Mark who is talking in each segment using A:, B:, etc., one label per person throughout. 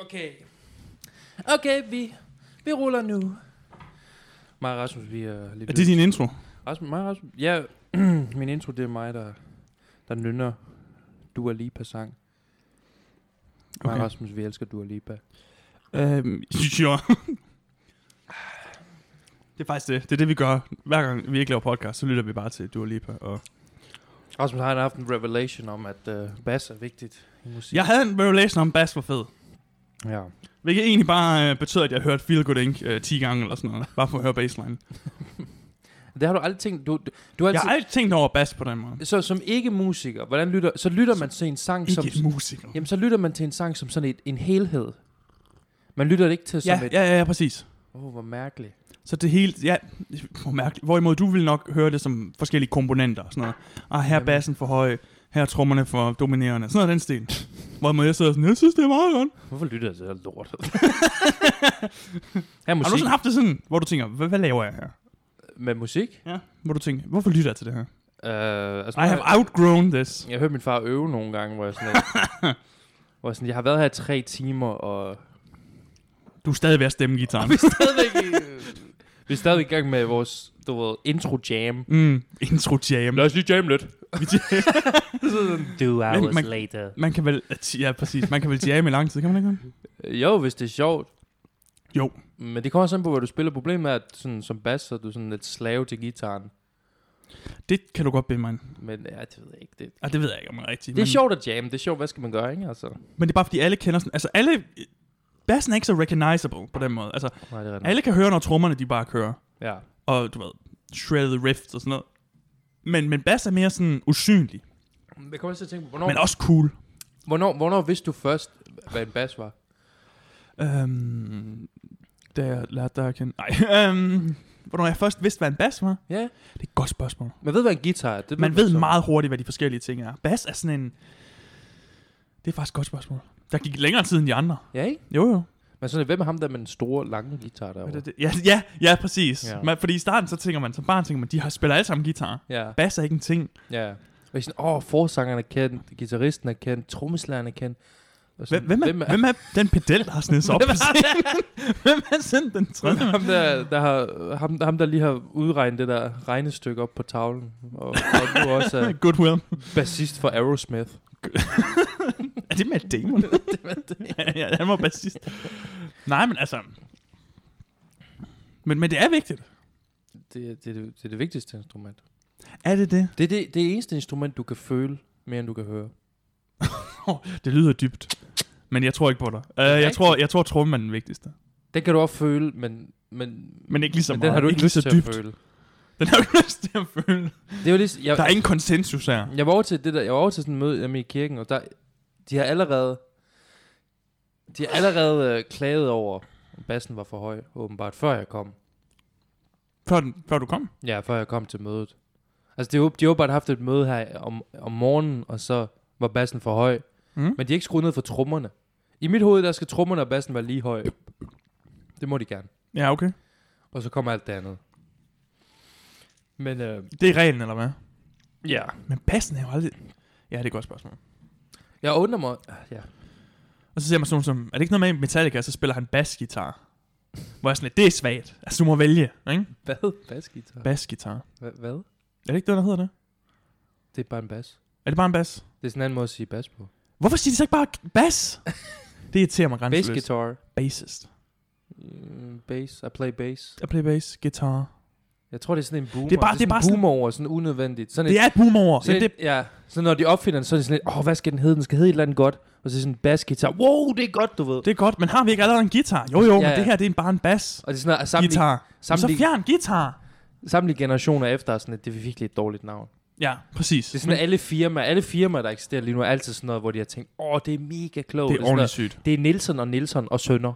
A: Okay. Okay, vi, vi ruller nu. Mig og Rasmus, vi er lidt...
B: Er det din intro?
A: Rasmus, mig og Rasmus, ja, min intro, det er mig, der, der nynner Dua Lipa sang. Okay. Mig
B: Okay.
A: og Rasmus, vi elsker Dua Lipa.
B: Øhm, sure. det er faktisk det. Det er det, vi gør. Hver gang vi ikke laver podcast, så lytter vi bare til Dua Lipa. Og
A: Rasmus har haft en revelation om, at uh, bass er vigtigt i musik.
B: jeg havde en revelation om, bass var fed.
A: ja.
B: Hvilket egentlig bare øh, betød, at jeg hørte Feel Good Inc. Øh, 10 gange eller sådan noget. Bare for at høre bassline.
A: Det har du aldrig tænkt... Du, du, du har
B: Jeg
A: altid,
B: har aldrig tænkt over bass på den måde.
A: Så som ikke-musiker, hvordan lytter, så lytter man til en sang som...
B: Ikke musiker.
A: Jamen, så lytter man til en sang som sådan et, en helhed. Man lytter det ikke til
B: Ja,
A: som et...
B: ja, ja, ja, præcis.
A: Åh, oh, hvor mærkeligt.
B: Så det hele, ja, hvor mærkeligt. Hvorimod du vil nok høre det som forskellige komponenter og sådan noget. Ah, her er
A: Jamen.
B: bassen for høj, her er trommerne for dominerende. Sådan noget af den stil. Hvorimod jeg sidder sådan, jeg synes, det er meget godt.
A: Hvorfor lytter jeg til det her lort? her er
B: Har du
A: musik.
B: sådan haft det sådan, hvor du tænker, hvad, hvad laver jeg her?
A: Med musik?
B: Ja. Hvor du tænker, hvorfor lytter jeg til det her?
A: Uh, altså,
B: I have outgrown this.
A: Jeg har hørt min far øve nogle gange, hvor jeg sådan... lidt- hvor jeg sådan, jeg har været her i tre timer, og...
B: Du er stadig ved at stemme gitaren.
A: Vi er stadigvæk i, vi er stadigvæk i gang med vores, du ved, intro-jam.
B: Mm, intro jam.
A: Lad os lige jamme lidt.
B: Vi jam-
A: Two
B: hours man-
A: later.
B: man kan vel, ja præcis, man kan vel jamme i lang tid, kan man ikke det?
A: Jo, hvis det er sjovt.
B: Jo.
A: Men det kommer også an på, hvad du spiller. Problemet er, at sådan, som bass, så er du sådan lidt slave til gitaren.
B: Det kan du godt bede mig. ind.
A: Men ja, det ved jeg ikke. Det,
B: Ah, det ved jeg ikke om jeg er rigtigt.
A: det er
B: men-
A: sjovt at jamme. Det er sjovt, hvad skal man gøre, ikke? Altså,
B: Men det er bare fordi alle kender sådan, altså alle, bassen er ikke så recognizable på den måde. Altså
A: nej, det er rigtigt.
B: alle kan høre, når trommerne de bare kører.
A: Ja.
B: Og du ved, shredded riffs og sådan noget. Men, men bass er mere sådan usynlig,
A: Jeg kommer også til at tænke på, hvornår,
B: men også cool.
A: hvornår, hvornår vidste du først, hvad en bass var?
B: Øhm, da jeg lærte dig at kende. Nej, øhm, hvornår jeg først vidste, hvad en bass var?
A: Ja,
B: Det er et godt spørgsmål.
A: man ved, hvad en guitar er. Det
B: Man
A: så.
B: ved meget hurtigt, hvad de forskellige ting er. Bass er sådan en... Det er faktisk et godt spørgsmål. Der gik længere tid end de andre.
A: Ja, ikke?
B: Jo, jo.
A: Men sådan, hvem er ham der med den store, lange guitar
B: Hvad er
A: derovre?
B: det, det? Ja, ja, ja, præcis.
A: Ja.
B: Ja. Man, fordi i starten, så tænker man, som barn tænker man, de har spiller alle sammen guitar.
A: Ja,
B: Bass er ikke en ting.
A: ja. Og I er sådan, åh, oh, forsangeren er kendt, gitarristen er kendt, trommeslageren er kendt. Og
B: Hvem, hvem, er, hvem, er, hvem er den pedel, der har snedet sig op?
A: Hvem
B: på
A: er
B: scenen? hvem er sådan den tredje?
A: Ham der, der har, ham, ham, der lige har udregnet det der regnestykke op på tavlen, og, og nu også er
B: Goodwill.
A: bassist for Aerosmith.
B: Er det Matt Damon? ja, han var bassist. Nej, men altså... Men, men det er vigtigt.
A: Det, er- det, er det, det er det vigtigste instrument.
B: Er det det?
A: Det er det, det eneste instrument, du kan føle mere, end du kan høre.
B: Det lyder dybt. Men jeg tror ikke på dig. Uh, jeg,
A: rigtigt.
B: tror, jeg tror, trommen er den vigtigste.
A: Det kan du også føle, men... Men,
B: Men ikke lige så
A: men den
B: meget.
A: har du
B: Ikke
A: ikke
B: lige
A: lyst
B: så
A: til
B: dybt.
A: at føle.
B: Den har du ikke lyst til at føle.
A: Det var lige, jeg,
B: Der er ingen konsensus her.
A: Jeg var over til det der, jeg var over til sådan et møde hjemme i kirken, og der, de har allerede, de har allerede øh, klaget over, at bassen var for høj, åbenbart, før jeg kom.
B: Før, den, før du kom.
A: Ja, før jeg kom til mødet. Altså, de, har åb- de har åbenbart haft et møde her om, om morgenen, og så var bassen for høj.
B: Mm.
A: Men de har ikke skruet ned for trommerne. I mit hoved, der skal trommerne og bassen være lige høj. Det må de gerne.
B: Ja, okay.
A: Og så kommer alt det andet. Men øh,
B: Det er reglen, eller hvad?
A: ja,
B: Men bassen er jo aldrig... Ja, det er et godt spørgsmål.
A: jeg undrer mig... Ja.
B: Og så ser man sådan nogle som... Er det ikke noget med i Metallica, så spiller han basgitar? Hvor jeg er sådan lidt, det er svagt. Altså, du må vælge, ikke?
A: Hvad? Basgitar?
B: Basgitar.
A: Hva- Hvad?
B: Er det ikke det, der hedder det?
A: Det er bare en bas.
B: Er det bare en bas?
A: Det er sådan en anden måde at sige bas på.
B: Hvorfor siger de så ikke bare bass? det irriterer mig
A: Bass
B: grænseløst.
A: guitar.
B: Bassist.
A: Mm, bass. I play bass.
B: Jeg play bass, guitar.
A: Jeg tror, det er sådan en boomer.
B: Det er bare- det er
A: sådan
B: bare
A: en boomer over, sådan unødvendigt. Sådan
B: Det er et boomer.
A: et,
B: Ja,
A: sådan
B: det,
A: et, ja, så når de opfinder den, så er det sådan lidt, åh, oh, hvad skal den hedde? Den skal hedde et eller andet godt. Og så er det sådan en bassguitar. Wow, det er godt, du ved.
B: det er godt, men har vi ikke allerede en guitar? Jo, jo,
A: Ja,
B: men
A: ja.
B: det her, det er bare en bass.
A: og det er sådan noget, samtlige,
B: Guitar. Men Så
A: samtlige,
B: fjern guitar.
A: samtlige generationer efter er sådan lidt, det er virkelig et dårligt navn.
B: Ja, præcis.
A: Det er sådan, at alle firmaer, alle firmaer, der eksisterer lige nu, er altid sådan noget, hvor de har tænkt, åh, oh, det er mega klogt.
B: det er
A: sådan
B: ordentligt
A: noget,
B: sygt.
A: det er Nielsen og Nielsen og Sønder.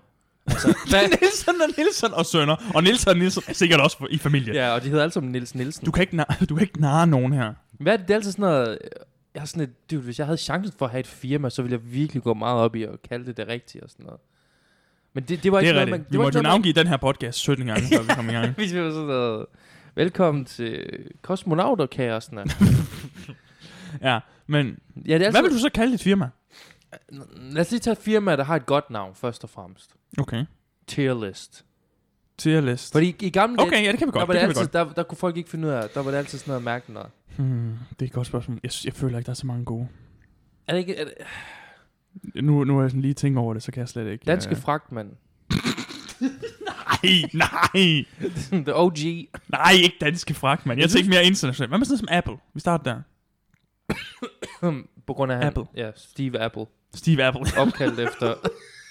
A: Altså, hvad?
B: Nielsen og Nielsen og Sønder. Og Nielsen og Nielsen er sikkert også i familie.
A: ja, og de hedder alle sammen Niels Nielsen.
B: Du kan ikke, na- du kan ikke narre nogen her.
A: Hvad er det, det er altid sådan noget... Jeg har sådan et, dude, hvis jeg havde chancen for at have et firma, så ville jeg virkelig gå meget op i at kalde det det rigtige og sådan noget. Men det, det var
B: Det
A: ikke
B: er
A: noget, man...
B: rigtigt. Vi måtte jo navngive den her podcast 17 gange, før vi kom i gang.
A: Hvis vi var sådan noget... Velkommen til kosmonauterkæresterne.
B: Ja, men
A: Ja, det er
B: hvad
A: altid,
B: vil du så kalde dit firma?
A: Lad os lige tage firmaer, der har et godt navn, først og fremmest.
B: Okay.
A: Tier list.
B: Tier list.
A: Fordi altså, i gamle dage,
B: Okay, ja, det kan vi
A: der,
B: godt.
A: var det
B: Det kan vi godt.
A: altid, der, der kunne folk ikke finde ud af, der var det altid sådan noget mærke noget.
B: Hmm, det er et godt spørgsmål. Jeg, jeg føler ikke, der er så mange gode.
A: Er det ikke er det,
B: Nu, nu har jeg sådan lige tænkt over det, så kan jeg slet ikke...
A: danske
B: øh,
A: fragtmand?
B: Nej, nej,
A: The OG.
B: nej, ikke danske frak, mand. Jeg tænkte mere internationalt. Hvad med sådan noget som Apple? Vi starter der.
A: På grund af han,
B: Apple.
A: Ja, Steve Apple.
B: Steve Apple.
A: Opkaldt efter.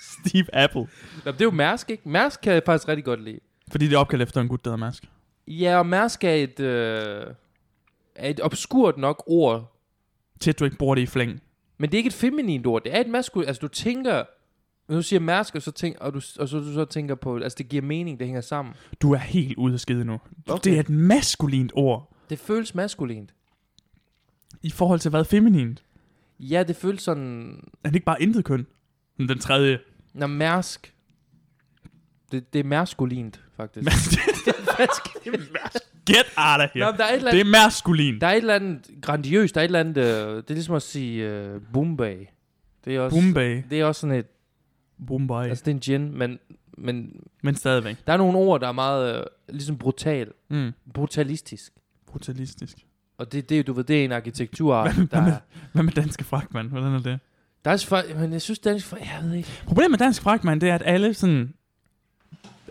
B: Steve Apple.
A: Nå, det er jo Mærsk, ikke? Mærsk kan jeg faktisk rigtig godt lide.
B: Fordi det er opkaldt efter en gut, der hedder Mask.
A: Ja, og Mærsk er et, øh, er et obskurt nok ord.
B: Tæt, du ikke bruger det i flæng.
A: Men det er ikke et feminint ord. Det er et maskulint. Altså, du tænker... Når du siger Mærsk, og så, tænker, og, du, og så, du så tænker på... Altså, det giver mening. Det hænger sammen.
B: Du er helt ude af skide nu. Okay.
A: Okay.
B: Det er et maskulint ord
A: Det føles maskulint.
B: i forhold til hvad er feminint.
A: Ja, det føles sådan...
B: Er det ikke bare intet køn? Men Den tredje.
A: Nå, Mærsk... Det, det er maskulint, faktisk.
B: Get out of
A: Nå,
B: here.
A: men der er et eller andet...
B: Det er maskulint.
A: Der er et eller andet grandiøst, der er et eller andet, øh, det er ligesom at sige øh, Bombay. Det er også,
B: Bombay.
A: det er også sådan et,
B: Bombay.
A: altså det er en gin, men, men
B: Men stadigvæk.
A: der er nogle ord, der er meget øh, ligesom brutal,
B: Mm.
A: brutalistisk.
B: Brutalistisk.
A: Og det, det, er jo, du ved, det er en arkitekturart,
B: Hvad-
A: der
B: hvad
A: er.
B: Hvad med danske fragtmand? Hvordan er det?
A: Der er for, men jeg synes, det er for, jeg ved ikke.
B: Problemet med dansk fragtmand, det er, at alle sådan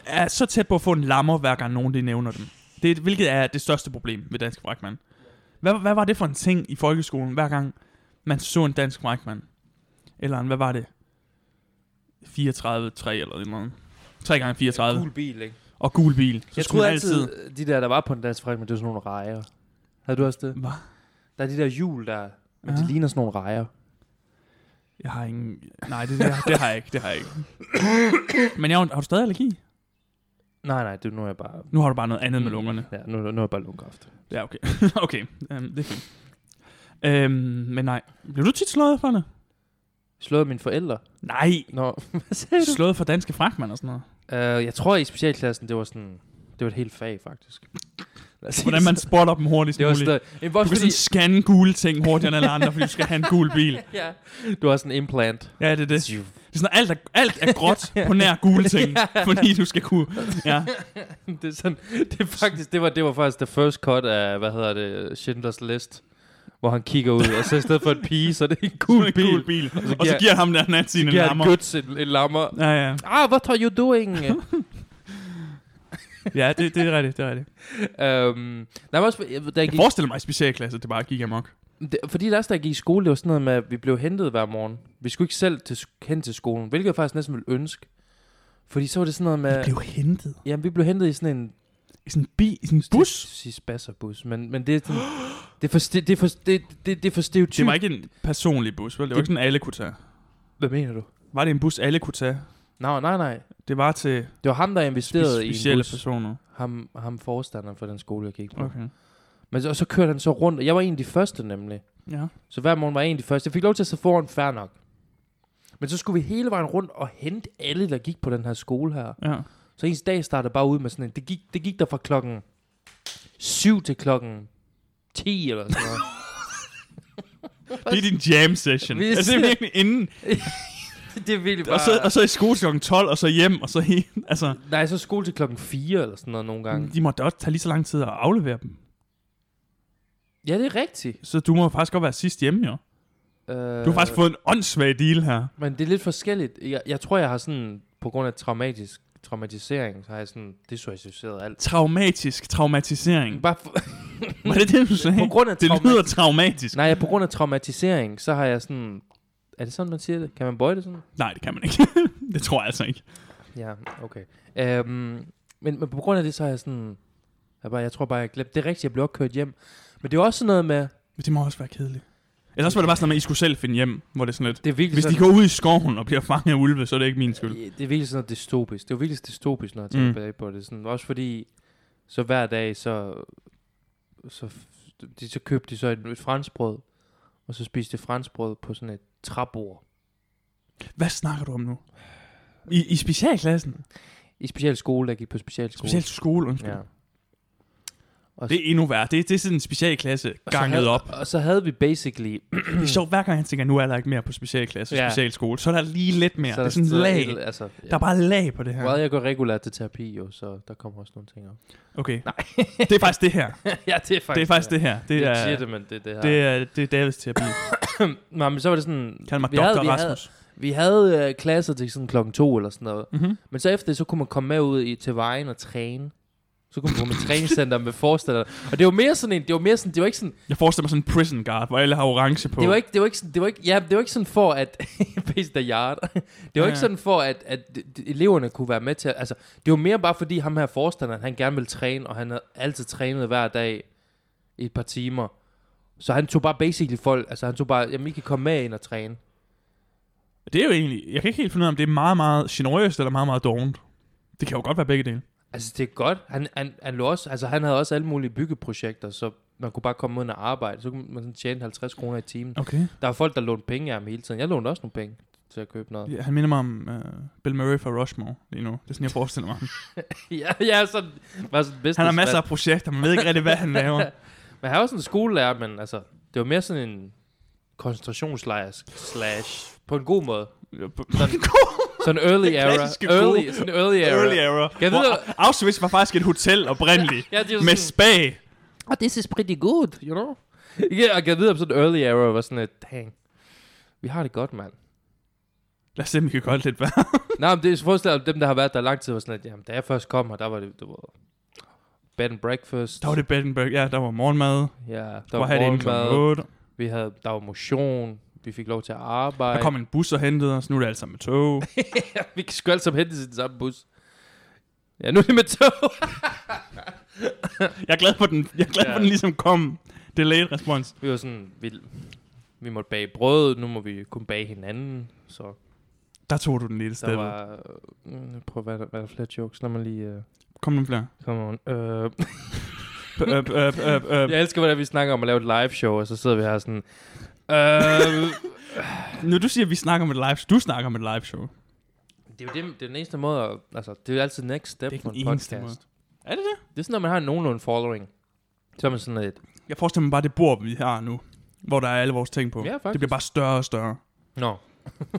B: er så tæt på at få en lammer, hver gang nogen de nævner dem. Det, er- hvilket er det største problem ved dansk fragtmand. Hvad, hvad var det for en ting i folkeskolen, hver gang man så en dansk fragtmand? Eller en, hvad var det? 34, 3 eller noget. andet. 3 gange 34.
A: bil, ikke?
B: Og gul bil. Så
A: jeg
B: skulle
A: troede
B: man
A: altid, altid, de der, der var på en dansk fragt, men det var sådan nogle rejer. Havde du også det?
B: Hvad?
A: Der er de der hjul, der... Men ja. de
B: Ja.
A: ligner sådan nogle rejer.
B: Jeg har ingen... Nej, det, det, det har jeg ikke. Det har jeg ikke. Men jeg, har har du stadig allergi?
A: Nej, nej, det, nu er jeg bare...
B: Nu har du bare noget andet med
A: Mm.
B: lungerne.
A: Ja, nu, nu er jeg bare lungkræft.
B: Ja, okay. okay, um, det er fint. Um, men nej. Blev du tit slået for det?
A: Slået mine forældre.
B: Nej.
A: Nå, hvad sagde du?
B: Slået for danske fragtmænd og sådan noget.
A: Uh, jeg tror i specialklassen, det var sådan... Det var et helt fag, faktisk. Lad os sige
B: Hvordan man
A: sådan.
B: spotter dem hurtigst
A: Det var
B: muligt.
A: sådan... En,
B: Du kan
A: fordi,
B: sådan scanne gule ting hurtigere end alle andre, fordi du skal have en gul bil.
A: ja. Du har sådan en implant.
B: Ja, det er det.
A: Ziv.
B: det er sådan, alt, er, alt er gråt på nær gule ting, fordi du skal kunne... Ja,
A: det er sådan... Det er faktisk... Det var, det var faktisk the first cut af, hvad hedder det, Schindlers List. Hvor han kigger ud, og så i stedet for en pige, så er det en
B: gul
A: cool
B: bil.
A: bil.
B: Gul bil. Og så,
A: så
B: og så
A: giver-
B: giver ham der nazien en
A: Giver han
B: lammer.
A: guts en, en lammer.
B: Ja, ja.
A: Ah, what are you doing?
B: ja det, det er rigtigt, det er rigtigt.
A: øhm, nej, men også, jeg- da jeg
B: Jeg
A: gik,
B: forestiller mig i specialklasse, at det bare gik amok.
A: det, fordi der også, da jeg gik i skole, det var sådan noget med, at vi blev hentet hver morgen. Vi skulle ikke selv til, hen til skolen, hvilket jeg faktisk næsten ville ønske. Fordi så var det sådan noget med...
B: blev hentet.
A: Jamen, vi blev hentet i sådan en...
B: I sådan en, bi, i sådan en bus.
A: Det, spasserbus, men, men det er sådan, det er for, sti- det er for, det, det, det er for stereotyp.
B: Det var ikke en personlig bus, vel? Det var
A: Det-
B: ikke sådan, alle kunne tage.
A: Hvad mener du?
B: Var det en bus, alle kunne tage?
A: Nej, nej, nej.
B: Det var til
A: Det var ham, der
B: spe-
A: investerede i en
B: specielle
A: bus.
B: personer.
A: Ham, ham forstanderen for den skole, jeg gik på. Okay.
B: Okay.
A: Men så, og så kørte han så rundt, og jeg var en af de første nemlig.
B: Ja.
A: Så hver morgen var jeg en af de første. Jeg fik lov til at sidde foran, fair nok. Men så skulle vi hele vejen rundt og hente alle, der gik på den her skole her.
B: ja.
A: Så ens dag startede bare ud med sådan en... Det gik, det gik der fra klokken 7 til klokken 10 eller sådan noget.
B: Det er din jam session.
A: Vi-
B: altså, det er virkelig inden.
A: det er virkelig bare...
B: Og så, og så i skole til klokken 12, og så hjem, og så he, Altså,
A: Nej, så skole til klokken 4 eller sådan noget nogle gange.
B: de måtte også tage lige så lang tid at aflevere dem.
A: Ja, det er rigtigt.
B: Så du må faktisk godt være sidst hjemme, jo.
A: Øh,
B: Du har faktisk fået en åndssvag deal her.
A: Men det er lidt forskelligt. Jeg, jeg tror, jeg har sådan... På grund af traumatisk, traumatisering, så har jeg sådan desassocieret alt.
B: Traumatisk traumatisering.
A: Bare for,
B: Var det det, du sagde?
A: på grund af
B: det
A: traumatisk...
B: lyder traumatisk. Nej.
A: Nej, ja, på grund af traumatisering, så har jeg sådan... Er det sådan, man siger det? Kan man bøje det sådan?
B: Nej, det kan man ikke. det tror jeg altså ikke.
A: Ja, okay. Øhm, men, men på grund af det, så har jeg sådan... Jeg, bare, jeg tror bare, jeg glemte. Det er rigtigt, jeg blev også kørt hjem. Men det er også sådan noget med...
B: Men det må også være kedeligt. Eller også var det bare sådan, at I skulle selv finde hjem, hvor det er sådan lidt...
A: Det er virkelig
B: Hvis de
A: sådan,
B: går ud i skoven og bliver fanget af ulve, så er det ikke min skyld.
A: Ja, Det er virkelig sådan noget dystopisk. Det er jo virkelig dystopisk, når jeg tænker
B: Mm.
A: mm. tilbage på det. Sådan, også fordi, så hver dag, så, så, f- de, så købte de så et, et franskbrød, og så spiste de franskbrød på sådan et træbord
B: Hvad snakker du om nu? I, i specialklassen?
A: i speciel skole, der gik på speciel skole.
B: Specielt skole, undskyld.
A: Ja.
B: Ja.
A: Og
B: Det er endnu værre. Det, det er sådan en specialklasse
A: og så
B: ganget
A: havde,
B: op.
A: Og så havde vi basically...
B: Det er sjovt, hver gang han tænker, nu er der ikke mere på specialklasse og
A: Ja.
B: specialskole, så er der lige lidt mere.
A: så
B: det
A: der
B: er sådan
A: sidder
B: lag.
A: et- Altså, ja.
B: Der er bare lag på det her.
A: Well, jeg går regulært til terapi jo, så der kommer også nogle ting op.
B: Okay. Nej. det er faktisk det her.
A: ja, det er faktisk
B: Det er faktisk det her. Det
A: Det
B: er,
A: er men det, det her.
B: det er, det er Davids terapi.
A: Nå, men så var det sådan...
B: Kald mig
A: vi havde-
B: Dr.
A: vi havde-
B: Rasmus.
A: Vi havde øh, klasser til sådan klokken to eller sådan noget.
B: Mhm.
A: Men så efter det, så kunne man komme med ud i, til vejen og træne. Så kunne man komme i træningscenter med forstander. Og det var mere sådan en, det var mere sådan, det var ikke sådan,
B: Jeg forestiller mig sådan en prison guard, hvor alle har orange på.
A: det var ikke, det var ikke sådan, det var ikke, ja, det var ikke sådan for at, based the yard. Det var
B: Ja,
A: ja.
B: ja.
A: ikke sådan for at, at d- d- eleverne kunne være med til, at- altså, det var mere bare fordi ham her forstanderen, han gerne ville træne, og han havde altid trænet hver dag i et par timer. Så han tog bare basically folk, altså han tog bare, jamen I kan komme med ind og træne.
B: Det er jo egentlig... Jeg kan ikke helt finde ud af, om det er meget, meget generøst eller meget, meget dovent. Det kan jo godt være begge dele.
A: Altså, det er godt. Han, han, han, lå også, altså, han havde også alle mulige byggeprojekter, så man kunne bare komme ud og arbejde. Så kunne man sådan tjene 50 kroner i timen.
B: Okay.
A: Der var folk, der lånte penge af ham hele tiden. Jeg lånte også nogle penge til at købe noget.
B: Ja, han minder mig om uh, Bill Murray fra Rushmore lige nu. Det er sådan, jeg forestiller mig. ham.
A: ja, ja, sådan, var sådan business
B: Han har masser af projekter, man ved ikke rigtig, hvad han laver.
A: Men han var sådan en skolelærer, men altså, det var mere sådan en koncentrationslejr slash, på en god måde. Sådan, sådan early
B: Den
A: era.
B: klassiske gode-
A: Early, sådan early era.
B: Early era.
A: Kan jeg vide,
B: Hvor Auschwitz var faktisk et hotel oprindeligt.
A: Ja, det var
B: med
A: sådan-
B: spa.
A: Oh, this is pretty good, you know? Ja, og kan jeg vide, om sådan early era var sådan et, dang, vi har det godt, mand.
B: Lad os se, om vi kan gøre lidt værre.
A: Nej, men det er forestillet, at dem, der har været der lang tid, var sådan, at jamen, da jeg først kom her, der var det, det var bed and breakfast.
B: Der var det bed and break. Ja, der var morgenmad.
A: Ja, der
B: Der
A: var,
B: var det inden klokken
A: morgenmad,
B: 8.
A: vi havde, der var motion, vi fik lov til at arbejde.
B: Der kom en bus og hentede os. Nu er det alt sammen med tog.
A: vi skulle alle sammen hentes i den samme bus. Ja, nu er det med tog.
B: Jeg er glad for, den, jeg er glad for,
A: Ja.
B: den ligesom kom. Delayed respons.
A: vi var sådan, vi, vi måtte bage brød, nu må vi kunne bage hinanden. Så
B: Der tog du den lige et
A: der
B: sted. Var...
A: var, øh, prøv at være, der- være der flere jokes, lad mig lige, øh,
B: Kom nu flere.
A: come on. Øh,
B: P- øh, øh, øh, øh,
A: jeg elsker, hvordan vi snakker om at lave et live show, og så sidder vi her sådan, øh,
B: Når du siger, at vi snakker om et live du snakker om et live show.
A: Det er jo det, det er den eneste måde, at, altså, det er jo altid next step
B: Det er
A: på
B: den
A: en
B: eneste
A: podcast.
B: måde.
A: Måde.
B: Er det det?
A: Det er sådan, når man har nogenlunde following. Så er man sådan lidt,
B: Jeg forestiller mig bare det bord, vi har nu. Hvor der er alle vores ting på.
A: Ja, faktisk.
B: det bliver bare større og større.
A: nå,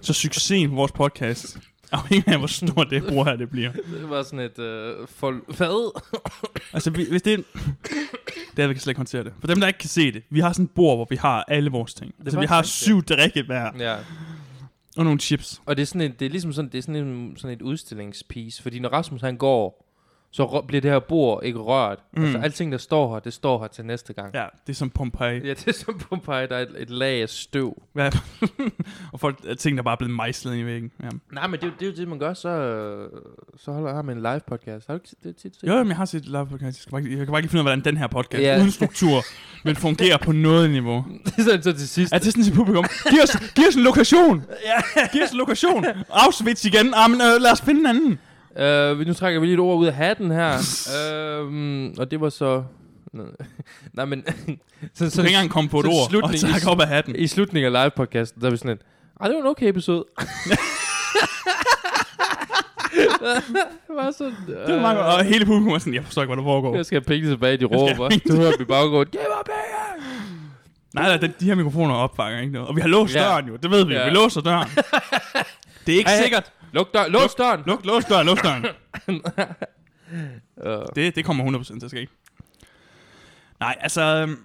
B: Så succesen på vores podcast, afhænger af, hvor stort det bord her det bliver.
A: det var sådan et, øh, for, hvad?
B: Altså, vi, hvis det er... en- Det er, vi kan slet ikke håndtere det. For dem, der ikke kan se det, vi har sådan et bord, hvor vi har alle vores ting. Altså, vi
A: faktisk
B: har
A: rigtigt.
B: syv drikke hver,
A: Ja,
B: og nogle chips.
A: og det er, sådan et, det er ligesom sådan, det er sådan, en, sådan et udstillingspiece, fordi når Rasmus han går, så rø- bliver det her bord ikke rørt.
B: Mm.
A: Mm. Altså alting, der står her, det står her til næste gang. Ja,
B: Ja, det er som Pompeji.
A: ja det er som Pompeji, der er et, et lag af støv.
B: Ja. og folk er ting, der bare er blevet mejslet i væggen. Ja.
A: Nej, men det, er jo- det er jo det, man gør, så, øh, så holder jeg med en live podcast. Har du ikke set det tit? set?
B: Jo, jo, men jeg har set live podcast. Jeg, skal bare, ikke- jeg kan bare ikke finde ud af, hvordan den her podcast
A: Ja.
B: yeah. uden struktur vil fungere på noget niveau.
A: Det er sådan så til sidst.
B: Er det sådan til publikum? Giv os, giv os en lokation! Giv os en lokation! Auschwitz igen! Ah, men, øh, lad os finde en anden!
A: Uh, nu trækker vi lige et ord ud af hatten her. uh, og det var så... Nej, men... så,
B: Du kan ikke engang komme på et
A: så
B: ord og
A: slutningen-
B: trække op af hatten.
A: I slutningen af live-podcasten, der er vi sådan lidt... Ej, det var en okay episode. det var sådan... Uh,
B: Det var meget godt. Og hele publikum var sådan, jeg forstår ikke, hvad der foregår.
A: Jeg skal have penge tilbage, de
B: have
A: råber.
B: penge
A: Du hører dem i baggrunden. Giv mig penge!
B: Nej, nej, den- de her mikrofoner opfanger ikke noget. Og vi har låst
A: Ja.
B: døren jo, det ved vi.
A: Ja.
B: Vi låser døren. Det er ikke
A: Ej,
B: sikkert.
A: Luk døren! Lås døren!
B: Luk, lås døren, lås døren.
A: Uh,
B: Det, det kommer 100% til at ske. Nej, altså... øhm,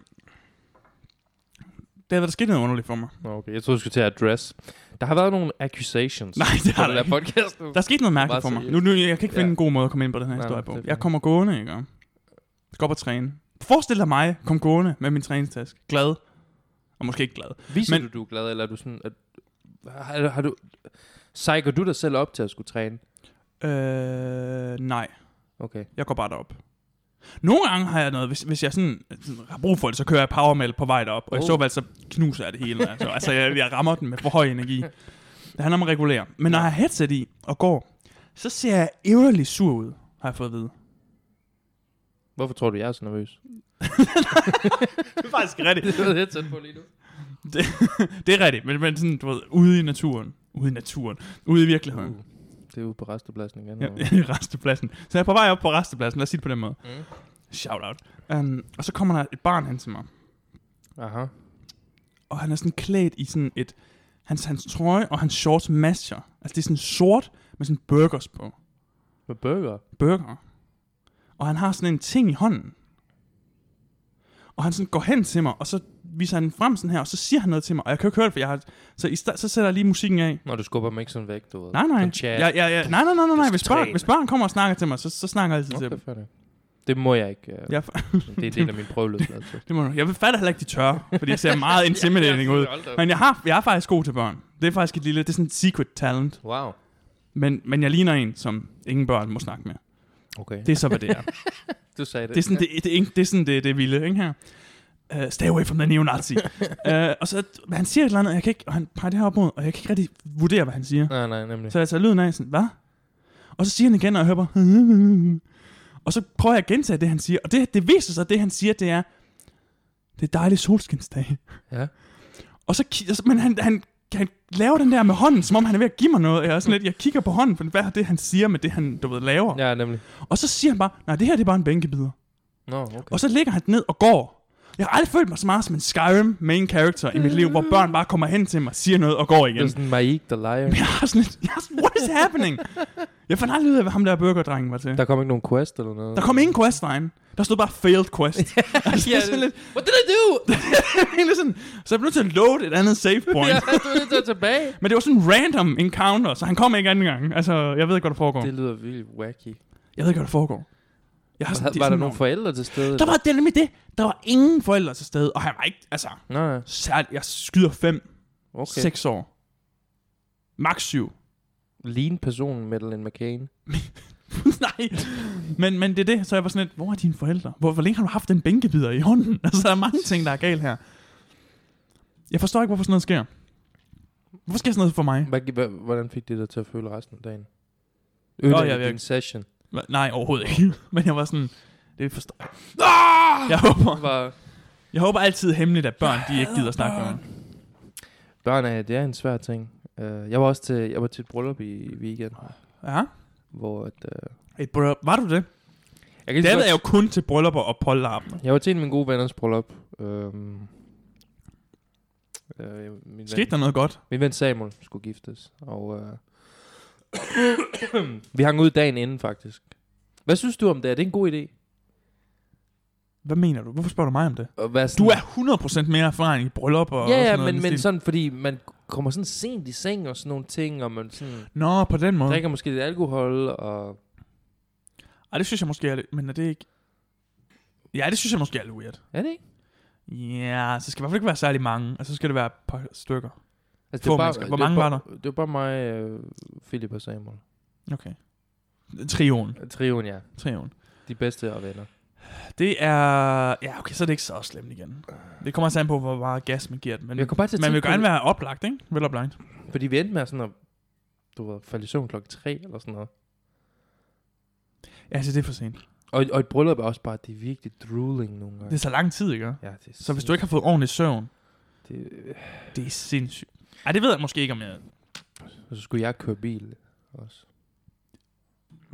B: Det har været sket noget underligt for mig.
A: okay, jeg troede, du skulle til at address. Der har været nogle accusations.
B: Nej, det
A: på
B: har
A: den
B: der
A: der
B: ikke.
A: podcast.
B: Der er sket noget
A: Bare
B: mærkeligt for mig. Nu,
A: seriøst.
B: nu, jeg kan ikke finde
A: Ja.
B: en god måde at komme ind på den her
A: Nej,
B: historie
A: det er
B: på.
A: fint.
B: Jeg kommer gående, ikke? Jeg skal op og træne. Forestil dig mig, kom gående med min træningstaske. Glad. Og måske ikke glad.
A: Viser
B: Men-
A: Men, du, du er glad, eller er du sådan... At, har, har du, psyker du dig selv op til at skulle træne?
B: Øh, nej.
A: Okay.
B: Jeg går bare derop. Nogle gange har jeg noget, hvis, hvis jeg sådan, sådan har brug for det, så kører jeg powermail på vej derop, og oh. i
A: Oh.
B: så fald så knuser jeg det hele. Altså, altså jeg, jeg rammer den med for høj energi. Det handler om at regulere. Men når jeg har headset i og går, så ser jeg ævlerligt sur ud, har jeg fået at vide.
A: Hvorfor tror du, jeg er så nervøs?
B: Det er faktisk rigtigt.
A: det er jeg tæt på lige nu.
B: Det er rigtigt, men, men sådan, du ved, ude i naturen. Ude i naturen. Ude i virkeligheden.
A: Uh, det er ude på restepladsen igen.
B: Ja,
A: og-
B: i restepladsen. Så jeg er på vej op på restepladsen, lad os sige det på den måde.
A: Mm.
B: Shout out. Um, og så kommer der et barn hen til mig.
A: Aha.
B: og han er sådan klædt i sådan et... Hans, hans trøje og hans shorts matcher. Altså det er sådan sort med sådan burgers på.
A: Med burger.
B: Burger. Og han har sådan en ting i hånden. Og han sådan går hen til mig, og så viser han den frem sådan her, og så siger han noget til mig, og jeg kan jo ikke høre det, for jeg har... Så, i sta- så sætter jeg lige musikken af.
A: Når du skubber mig ikke sådan væk, du ved.
B: Nej, nej.
A: Sådan
B: Ja,
A: chat.
B: ja, ja. Nej, nej, nej, nej, nej. Hvis børn,
A: træne.
B: hvis børn kommer og snakker til mig, så, så snakker jeg altid til
A: Okay,
B: dem.
A: fair nok. Det må jeg ikke. øh,
B: Jeg,
A: Det er en del af min prøveløsladelse.
B: det må, du- jeg fatter heller ikke, de tør, fordi jeg ser meget intimidating ud. Men jeg, har, jeg er faktisk god til børn. Det er faktisk et lille, det er sådan et secret talent.
A: Wow.
B: Men, men jeg ligner en, som ingen børn må snakke med.
A: Okay.
B: Det er så, hvad det er.
A: du sagde det.
B: det er sådan det, det, det, det, er sådan, det, det vilde, ikke her? Uh, stay away from the neonazi. uh, og så, men han siger et eller andet, og, jeg kan ikke, og han peger det her op mod, og jeg kan ikke rigtig vurdere, hvad han siger.
A: Nej, nej, nemlig.
B: Så jeg tager lyden af, sådan, hvad? Og så siger han igen, og jeg hører bare, og så prøver jeg at gentage det, han siger. Og det, det viser sig, at det, han siger, det er, det er dejlig solskinsdag.
A: Ja.
B: Og så, ki- og så- men han, han, han laver den der med hånden, som om han er ved at give mig noget. Jeg, er sådan lidt, jeg kigger på hånden, for hvad er det, han siger med det, han du ved, laver? Ja.
A: Mm. Ja, nemlig.
B: Og så siger han bare, nej, det her det er bare en bænkebider.
A: Nå, okay.
B: Og så ligger han ned og går. Jeg har aldrig følt mig så meget som en Skyrim main character i mit liv, hvor børn bare kommer hen til mig, siger noget og går
A: Det er
B: igen.
A: sådan Maik, der leger.
B: Jeg har sådan lidt, jeg har sådan, what is happening? Jeg fandt aldrig ud af, hvad ham der burgerdrengen var til.
A: Der kom ikke nogen quest eller noget.
B: Der kom ingen quest derinde. Der stod bare failed quest. altså,
A: Ja,
B: det er sådan
A: det-
B: lidt,
A: What did I do?
B: egentlig sådan, så jeg blev nødt til at load et andet save point.
A: ja, du er nødt til at tilbage.
B: Men det var sådan en random encounter, så han kom ikke anden gang. Altså, jeg ved ikke, hvad der foregår.
A: Det lyder vildt wacky.
B: Jeg ved ikke, hvad der foregår. Jeg har
A: Var,
B: Altså, det
A: var der
B: er sådan
A: nogle
B: nogle-
A: forældre til stede?
B: Der var det er nemlig det. Der var ingen forældre til stede, og han var ikke, altså,
A: Nå, ja.
B: særligt, jeg skyder fem,
A: okay.
B: okay. seks år. Max syv.
A: Lean person, Madeleine McCain.
B: Nej, men, men det er det, så jeg var sådan lidt, hvor er dine forældre? Hvor, hvor længe har du haft den bænkebider i hånden? Altså, der er mange ting, der er galt her. Jeg forstår ikke, hvorfor sådan noget sker. Hvorfor sker sådan noget for mig?
A: Hvad, hvad, hvordan fik det dig til at føle resten af dagen?
B: Nå, jeg
A: Ødelagde
B: ved
A: din
B: ikke.
A: session.
B: Hva- Nej, overhovedet ikke. Men jeg var sådan, det forstår jeg. Ah! Jeg håber,
A: Var,
B: jeg håber altid hemmeligt, at børn, de ikke gider snakke med mig.
A: børn er, det er en svær ting. Uh, jeg var også til, jeg var til et bryllup i i weekenden,
B: Ja?
A: hvor at, uh,
B: Et bryllup. Var du det?
A: jeg, kan
B: Det
A: lige så godt-
B: er jo kun til bryllupper og pollarmer.
A: jeg var til en af mine gode venners bryllup. Øhm, øh, min, ven,
B: Skete der noget godt?
A: min ven Samuel skulle giftes, og øh, vi hang ud dagen inden faktisk. Hvad synes du om det? Er det en god idé?
B: Hvad mener du? Hvorfor spørger du mig om det?
A: At være
B: Du
A: sådan-
B: er 100% mere erfaring i bryllup og og
A: Ja,
B: sådan
A: ja,
B: noget i
A: men,
B: den
A: men
B: stil.
A: sådan, fordi man kommer sådan sent i seng og sådan nogle ting, og man sådan
B: Nå, på den måde.
A: drikker måske lidt alkohol, og...
B: Ej, det synes jeg måske er lidt... Men er det ikke... Ja, det synes jeg måske er lidt weird.
A: Er det ikke?
B: Ja, så skal det i hvert fald ikke være særlig mange. Og så skal det være et par stykker.
A: Altså,
B: Få mennesker. Hvor mange var
A: der? Det var bare mig, øh, Philip og Samuel.
B: Okay. Trioen.
A: Trioen, ja.
B: Trioen.
A: De bedste og venner.
B: Det er... Ja, okay, så er det ikke så slemt igen. Det kommer altså an på, hvor meget gas man giver den. Men
A: Jeg kom bare til at
B: man vil
A: tænke på
B: gerne være oplagt, ikke? Vel oplagt.
A: det, Fordi vi endte med sådan at, du ved, falde i søvn klokken tre eller sådan noget.
B: Ja, altså, det er for sent.
A: Og, og et bryllup er også bare, det er virkelig drooling nogle gange.
B: Det er så lang tid, ikke?
A: ja, det er
B: Så hvis du ikke har fået ordentlig søvn,
A: Det, øh,
B: det er sindssygt. Ej, det ved jeg måske ikke, om jeg...
A: og så skulle jeg køre bil også.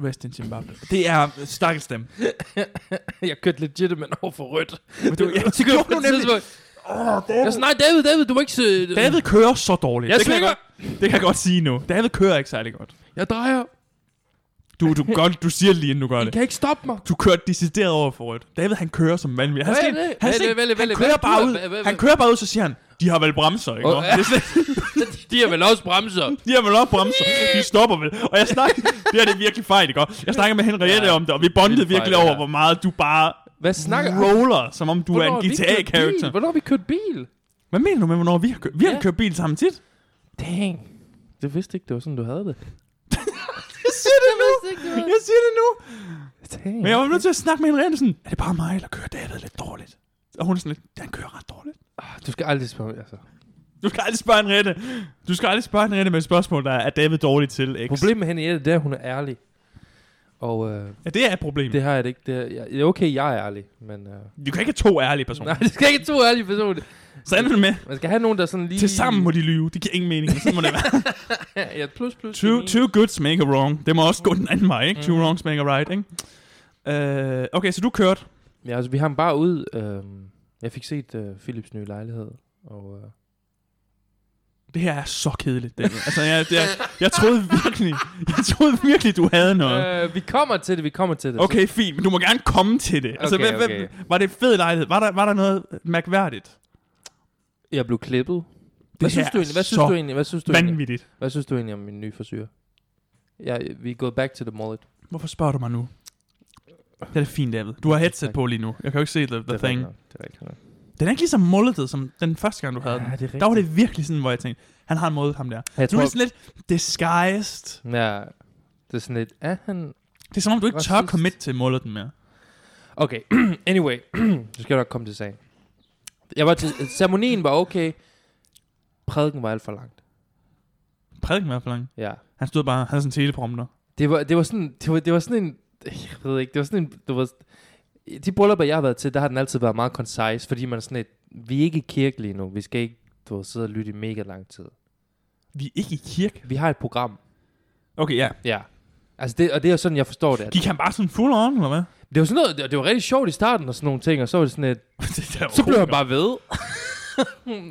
B: Rest in Zimbabwe. Det er stakkels dem.
A: jeg kørte legitimate over for rødt.
B: Men du, ja, det
A: På
B: gjorde
A: et
B: du nemlig.
A: tidspunkt. Jeg sådan, nej, David, David, du må ikke se...
B: David kører så dårligt.
A: Jeg
B: det, kan jeg
A: svinger.
B: godt, det kan jeg godt sige nu. David kører ikke særlig godt.
A: Jeg drejer.
B: Du, du, godt, du siger det lige, inden du gør
A: I
B: det.
A: kan ikke stoppe mig.
B: Du kører decideret over for rødt. David, han kører som vanvittig. Han,
A: Hvad er
B: han,
A: det?
B: han,
A: Hvad er
B: han,
A: det? Hvad er det?
B: han
A: Hvad er
B: kører
A: det?
B: bare ud.
A: Hvad- hvad- hvad-
B: Han kører bare ud, så siger han, de har vel bremser, ikke?
A: Åh,
B: Oh,
A: ja. De er vel også bremser.
B: de har vel også bremser, de stopper vel. Og jeg snakker, det her det er virkelig fejl, ikke? Jeg snakker med Henriette
A: Ja.
B: om det, og vi bondede
A: Vildt fejl,
B: virkelig
A: det
B: over,
A: her.
B: hvor meget du bare
A: Hvad snakker
B: roller, som om du er en
A: har vi kørt
B: GTA-karakter.
A: bil? Hvornår har vi kørt bil?
B: Hvad mener du med, hvornår vi har kørt? Vi har
A: Ja.
B: kørt bil sammen tit.
A: Dang. Det vidste ikke, det var sådan, du havde det.
B: Jeg siger det
A: vidste
B: nu.
A: ikke, det var-
B: Jeg siger det nu.
A: Dang.
B: Men jeg var nødt til at snakke med Henriette sådan, er det bare mig, eller kører David lidt dårligt? Og hun er sådan lidt, han kører ret dårligt.
A: Ah, Du skal aldrig spørge altså.
B: Du skal aldrig spørge Henriette. Du skal aldrig spørge Henriette med et spørgsmål, der er David dårlig til, X.
A: Problemet med hende er, det er, at hun er ærlig. Og øh,
B: Ja, det er et problem.
A: det har jeg det ikke. Det er, jeg, det er okay, jeg er ærlig, men... Øh,
B: Du kan ikke have to ærlige personer.
A: nej, det skal ikke to ærlige personer.
B: Så ender det med,
A: Man skal have nogen, der sådan lige...
B: til sammen må de lyve. Det giver ingen mening. men Sådan må det være.
A: ja, plus, plus.
B: two,
A: minus.
B: two goods make a wrong. Det må også gå den anden vej, ikke? Two
A: Mm.
B: wrongs make a right, ikke? Uh, okay, så du kørte.
A: Ja, altså vi ham bare ud. Øh, jeg fik set øh, Philips nye lejlighed, og øh,
B: Det her er så kedeligt, Daniel. Altså, jeg, jeg, jeg, troede virkelig, jeg troede virkelig, du havde noget.
A: øh, vi kommer til det, vi kommer til det.
B: Okay, fint, men du må gerne komme til det. Altså,
A: Okay,
B: okay, okay.
A: okay.
B: var det en fed lejlighed? Var der, var der noget mærkværdigt?
A: Så jeg blev klippet. Hvad
B: her
A: synes, du
B: er
A: egentlig? Hvad synes
B: så
A: du egentlig? Hvad synes du egentlig?
B: Vanvittigt.
A: Hvad synes du egentlig om min nye forsyre? Ja, vi er gået back to the mullet.
B: Hvorfor spørger du mig nu? Det er fint, David. Du har headset på lige nu. Jeg kan jo ikke se the, the
A: det er
B: thing.
A: rigtigt nok, Det er rigtigt nok.
B: Den er ikke lige så mulletet, som den første gang, du havde den.
A: Ja, det er rigtigt.
B: Der var det virkelig sådan, hvor jeg tænkte, han har en måde ham der.
A: Jeg
B: Nu er
A: tror,
B: det sådan lidt disguised.
A: ja, det er sådan lidt, er han...
B: Det er som om, du ikke tør
A: Racist.
B: commit til mulleten mere.
A: Okay, anyway, så skal jeg nok komme til sagen. Jeg var til, ceremonien var okay, prædiken var alt for langt.
B: Prædiken var for lang.
A: Ja.
B: Han stod bare, han havde sådan en teleprompter.
A: Det var, det var sådan, det var, det var sådan en, jeg ved ikke, det var sådan en, du ved, de bryllupper, jeg har været til, der har den altid været meget concise, fordi man er sådan et, vi er ikke i kirke lige nu, vi skal ikke, du ved, sidde og lytte i mega lang tid.
B: Vi er ikke i kirke.
A: Vi har et program,
B: Okay, ja.
A: ja. Altså det, og det er sådan, jeg forstår det. at-
B: Gik han bare sådan full on, eller hvad?
A: Det var sådan noget, det, det var rigtig sjovt i starten og sådan nogle ting, og så var det sådan et,
B: det er
A: så blev han bare ved.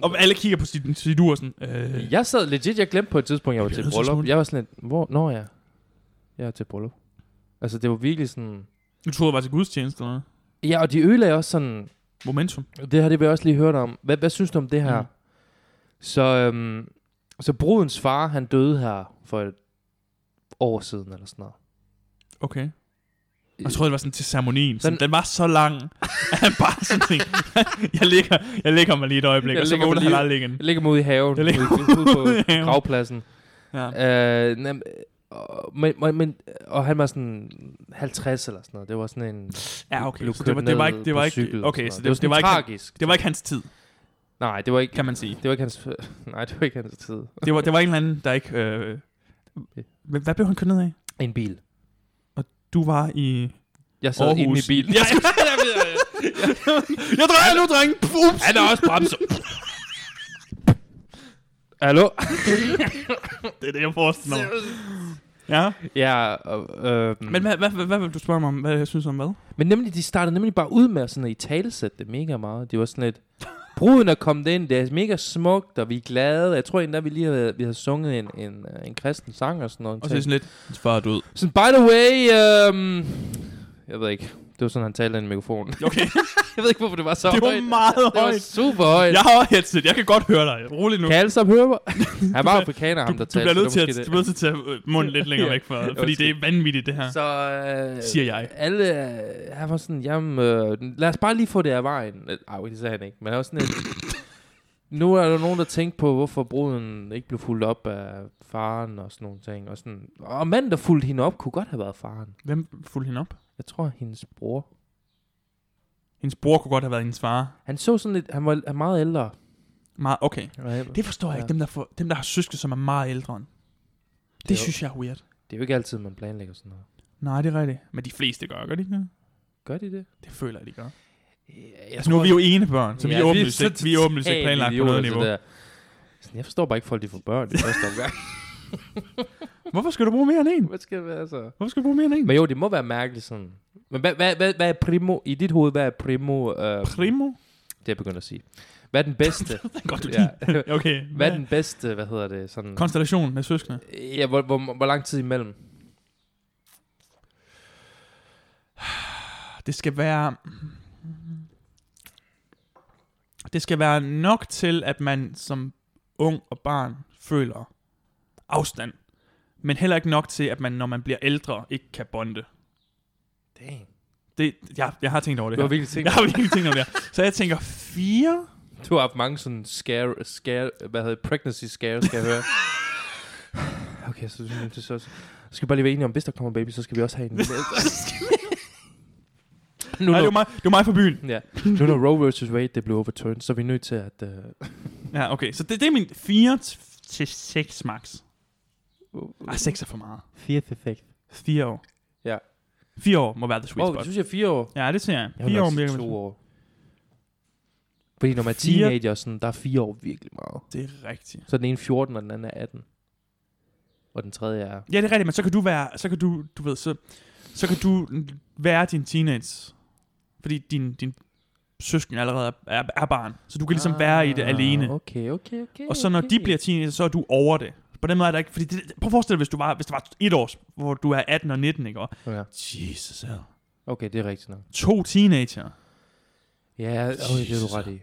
B: Og alle kigger på sit, sit ur sådan, øh,
A: Jeg sad legit, jeg glemte på et tidspunkt, jeg var
B: Jeg
A: til
B: bliver nødt til at
A: bryllup.
B: smutte.
A: Jeg var sådan lidt, hvor, når jeg? Jeg er til bryllup. Altså det var virkelig sådan,
B: du troede bare til gudstjeneste eller noget.
A: ja, og de ødelagde også sådan,
B: Momentum.
A: Det her, det vil jeg også lige høre dig om. Hvad, hvad synes du om det her?
B: Mm.
A: Mm. Så, øhm, så brudens far, han døde her for et år siden, eller sådan noget.
B: Okay. Jeg troede, det var sådan til ceremonien. Sådan,
A: Sådan-
B: den var så lang, at han bare sådan tænkte, jeg ligger, jeg ligger mig lige et øjeblik,
A: Jeg
B: og så
A: ligger mig
B: vågner han
A: lige-
B: aldrig igen.
A: Jeg ligger mig ude i haven,
B: Jeg ligger
A: ude, ude
B: ude i
A: på
B: haven.
A: gravpladsen.
B: Ja.
A: Øh, nem, og, men, men- men, og han var sådan 50 eller sådan noget. Det var sådan en...
B: Ja, okay.
A: blev
B: Så det var,
A: kørt
B: det var
A: ned
B: ikke, det
A: på
B: var ikke,
A: cykel og
B: okay,
A: sådan
B: så
A: noget.
B: det, det, var ikke, han-
A: tragisk.
B: det var ikke hans tid,
A: Nej, det var ikke...
B: kan man sige.
A: Det var ikke hans... Nej, det var ikke hans tid.
B: Det var, det var en eller anden, der ikke... Øh, hvad, hvad blev han kørt ned af?
A: En bil.
B: Du var i
A: Jeg sad
B: Aarhus.
A: inde i min bil.
B: Ja, jeg, jeg, jeg, jeg, jeg drejer nu, dreng. Ups.
A: Han er også bremser. Hallo?
B: Det er det, jeg forestiller mig. Ja.
A: Ja, og, øh,
B: Men hvad, hvad, hvad, hvad vil du spørge mig om? Hvad jeg synes om hvad?
A: men nemlig, de startede nemlig bare ud med at sådan at i talesætte det mega meget. Det var sådan lidt, bruden er kommet ind, det er mega smukt, og vi er glade. Jeg tror endda, vi lige havde, vi havde sunget en, en, øh, en kristen sang og sådan noget.
B: Og så er det sådan lidt, hans far er død.
A: sådan, by the way, øhm, jeg ved ikke, det var sådan, han talte ind i mikrofonen.
B: Okay,
A: jeg ved ikke, hvorfor det var så
B: det var
A: højt.
B: meget
A: det var
B: højt.
A: super højt.
B: Jeg har også headset, jeg kan godt høre dig. Rolig nu.
A: Kan alle sammen høre mig? Han var
B: bliver-
A: afrikaner,
B: Du,
A: ham der
B: du
A: talte.
B: bliver
A: så
B: nødt til
A: det
B: at,
A: var måske
B: du bliver nødt til at tage øh, munden lidt længere væk fra, fordi det er vanvittigt, det her,
A: det. Så, øh,
B: siger jeg.
A: alle, øh, han var sådan, jamen, øh, lad os bare lige få det af vejen. Øh, Ej, det sagde han ikke, men han var sådan lidt, nu er der nogen, der tænkte på, hvorfor bruden ikke blev fuldt op af faren og sådan nogle ting. Og, sådan, og manden, der fulgte hende op, kunne godt have været faren.
B: Hvem fulgte hende op?
A: Jeg tror, hendes bror.
B: Hendes bror kunne godt have været hendes far.
A: Han så sådan lidt, han var han er meget ældre.
B: Meget, okay.
A: Det,
B: Det forstår jeg
A: Ja.
B: ikke, dem der, for, dem der har søskende, som er meget ældre end. Det,
A: Det
B: det
A: er jo-
B: synes jeg er weird.
A: det er jo ikke altid, man planlægger sådan noget.
B: Nej, det er rigtigt. Men de fleste gør, gør de ikke det?
A: Gør de det?
B: Det føler jeg, de gør.
A: Jeg
B: Altså, nu er vi jo ene børn, så ja, vi er åbenlyst ikke, vi er åbenlyst ikke planlagt på noget niveau.
A: Sådan, jeg forstår bare ikke, folk de får børn i første omgang.
B: Hvorfor skal du bruge mere end en?
A: Hvad skal det være så?
B: Hvorfor skal du bruge mere end en?
A: Men jo, det må være mærkeligt sådan. Men hvad, hvad, hvad, hvad er primo, i dit hoved, hvad er primo, øh,
B: Primo?
A: det er jeg begyndt at sige. Hvad er den bedste,
B: Det er godt, du
A: ja.
B: ja. Okay.
A: hvad er den bedste, hvad hedder det, sådan,
B: Konstellation med søskende.
A: ja, hvor, hvor, hvor lang tid imellem?
B: Det skal være... Det skal være nok til, at man som ung og barn føler afstand. Men heller ikke nok til, at man, når man bliver ældre, ikke kan bonde.
A: Dang.
B: Det, jeg, jeg har tænkt over det
A: Du har
B: her.
A: virkelig tænkt,
B: Jeg har virkelig tænkt over det her. Så jeg tænker, fire?
A: du har haft mange sådan scare, scare hvad hedder det, pregnancy scare, skal jeg høre. Okay, så, så, så, så, så skal vi bare lige være enige om, hvis der kommer baby, så skal vi også have en. nu,
B: Nej, det
A: når,
B: var mig, det var mig for byen.
A: ja, nu når Roe vs. Wade, det blev overturned, så er vi nødt til at... Uh,
B: Ja, okay. Så det, det er min 4 til 6 max. Ah, 6 er for meget.
A: Fifth effect.
B: 4 år.
A: Ja.
B: 4 år må være the sweet
A: Åh, oh, du
B: spot.
A: synes, jeg er fire år?
B: Ja, det ser jeg.
A: Jeg
B: 4
A: vil
B: år
A: nok sige
B: virker
A: to
B: det.
A: år. Fordi når man er
B: Fire-
A: teenager, sådan, der er fire år virkelig meget.
B: Det er rigtigt.
A: Så er den ene 14, og den anden er 18. Og den tredje er...
B: Ja, det er rigtigt, men så kan du være, så kan du, du ved, så, så kan du være din teenage fordi din, din søsken allerede er- er, er barn. Så du kan ligesom være i det alene.
A: Ah, Okay, okay, okay.
B: Og så når
A: okay.
B: de bliver teenager, så er du over det. På den måde er der ikke... Fordi det, prøv at forestille dig, hvis du var, hvis du var et års, hvor du er 18 og 19, ikke? Og
A: Ja.
B: Jesus, hell.
A: Okay, det er rigtigt nok.
B: To teenager.
A: Ja, okay, det er du ret i.
B: altså.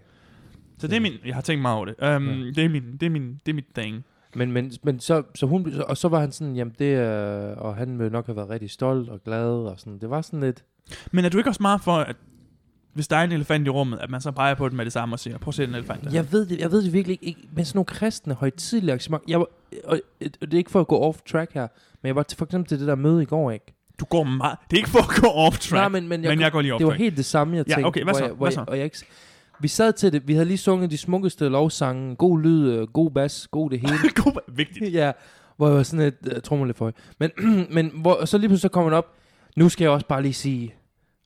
B: Så det er min... Jeg har tænkt meget over det. Um,
A: Ja.
B: det, er min, det, er min, det er mit thing.
A: Men, men, men så, så hun, blev- så- og så var han sådan, jamen det, øh, og han ville nok have været rigtig stolt og glad, og sådan, det var sådan lidt,
B: Men er du ikke også meget for, at hvis der er en elefant i rummet, at man så peger på den med det samme og siger, prøv at se den elefant der.
A: jeg ved det, jeg ved det virkelig ikke, ikke, men sådan nogle kristne højtidlige arrangementer, jeg var, og, og det er ikke for at gå off track her, men jeg var til, for eksempel til det der møde i går, ikke?
B: Du går meget... Det er ikke for at gå off track.
A: Nej, men, men, jeg,
B: men jeg går lige off
A: det var
B: track.
A: helt det samme, jeg
B: Ja,
A: tænkte.
B: okay, hvad
A: hvor
B: så?
A: Jeg, hvor
B: Hvad så?
A: Jeg, og jeg ikke, s- vi sad til det, vi havde lige sunget de smukkeste lovsange, god lyd, øh, god bas, god det hele.
B: God, vigtigt.
A: ja, hvor jeg var sådan lidt uh, trummel for. Men, men hvor, og så lige pludselig så kom han op, nu skal jeg også bare lige sige,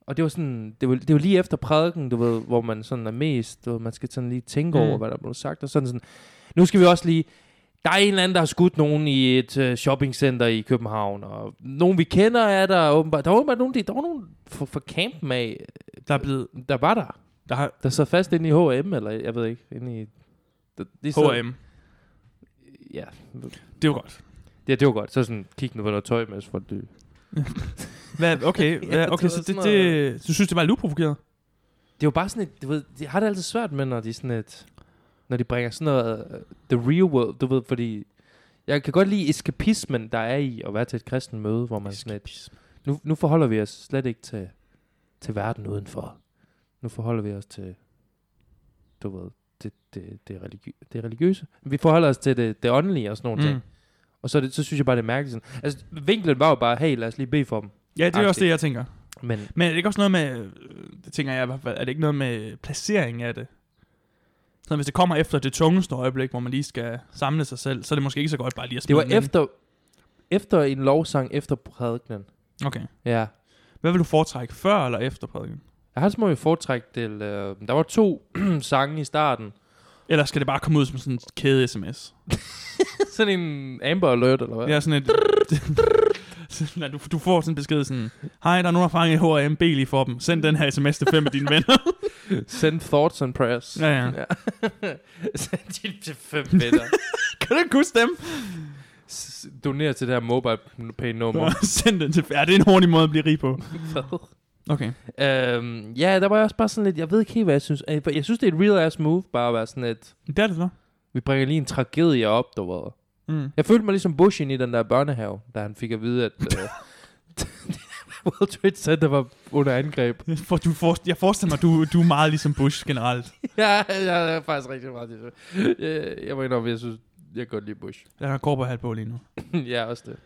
A: og det var sådan, det var, det var lige efter prædiken, du ved, hvor man sådan er mest, du ved, man skal sådan lige tænke
B: Mm.
A: mm. over, hvad der blev sagt, og sådan sådan, nu skal vi også lige, der er en eller anden, der har skudt nogen i et øh, shoppingcenter i København, og nogen vi kender er der åbenbart, der var åbenbart nogen, de- der var nogen fra, fra campen af,
B: Der er blevet...
A: øh, der var der,
B: Der har
A: der sad fast inde i H&M, eller jeg ved ikke, inde i... Der, de sad-
B: H&M.
A: Ja,
B: Det er jo godt.
A: Ja, det var godt. Så sådan, kig nu på noget tøj, mens folk dø.
B: Hvad, okay,
A: Ja,
B: ja,
A: det
B: okay
A: var
B: så det,
A: sådan
B: det, du synes, det var lidt uprovokeret?
A: Det var bare sådan et, du ved, jeg har det altid svært med, når de sådan et, når de bringer sådan noget, øh, the real world, du ved, fordi, jeg kan godt lide eskapismen, der er i at være til et kristen møde, hvor man sådan et, nu, nu forholder vi os slet ikke til, til verden udenfor. Nu forholder vi os til, du ved, det, det, det, religi- det religiøse. Vi forholder os til det, det åndelige og sådan nogle mm. ting.
B: Mm.
A: Og så, er det, så synes jeg bare, det er mærkeligt. Sådan. Altså, vinklen var jo bare, hey, lad os lige bede for dem.
B: Ja, det er også
A: Agtigt.
B: det, jeg tænker.
A: Men
B: Men er det ikke også noget med, øh, det tænker jeg i hvert fald, er det ikke noget med placering af det? Så hvis det kommer efter det tungeste øjeblik, hvor man lige skal samle sig selv, så er det måske ikke så godt bare lige at
A: Det
B: smide
A: var
B: den ind.
A: efter, efter en lovsang efter prædikenen.
B: Okay.
A: Ja.
B: Hvad vil du foretrække, før eller efter prædiken?
A: Jeg har små foretræk til... Øh, der var to sange i starten.
B: Eller skal det bare komme ud som sådan en kæde sms?
A: Sådan en Amber Alert, eller hvad?
B: Det er sådan et... Sådan, at du, du får sådan en besked sådan, hej, der er nogen, der fanger i H&M, bil lige for dem. Send den her sms til fem af dine venner.
A: Send thoughts and prayers.
B: ja, ja.
A: Send dit til fem venner.
B: Kan du ikke huske dem?
A: S- Doner til det her mobile pay nummer.
B: Send den til... Ja, det er en hurtig måde at blive rig på. Okay.
A: øhm, ja, der var jeg også bare sådan lidt... Jeg ved ikke helt, hvad jeg synes. Øh, for Jeg synes, det er et real ass move, bare at være sådan lidt...
B: Det er det så.
A: Vi bringer lige en tragedie op, du ved.
B: Mm.
A: Jeg følte mig ligesom Bush ind i den der børnehave, da han fik at vide, at uh, World Trade Center var under angreb.
B: For, du for, jeg forestiller mig, du, du er meget ligesom Bush generelt.
A: ja, jeg er faktisk rigtig meget det. Jeg, jeg må indrømme, jeg synes, jeg kan godt lide Bush.
B: Jeg har korber hat på lige nu.
A: ja, også det.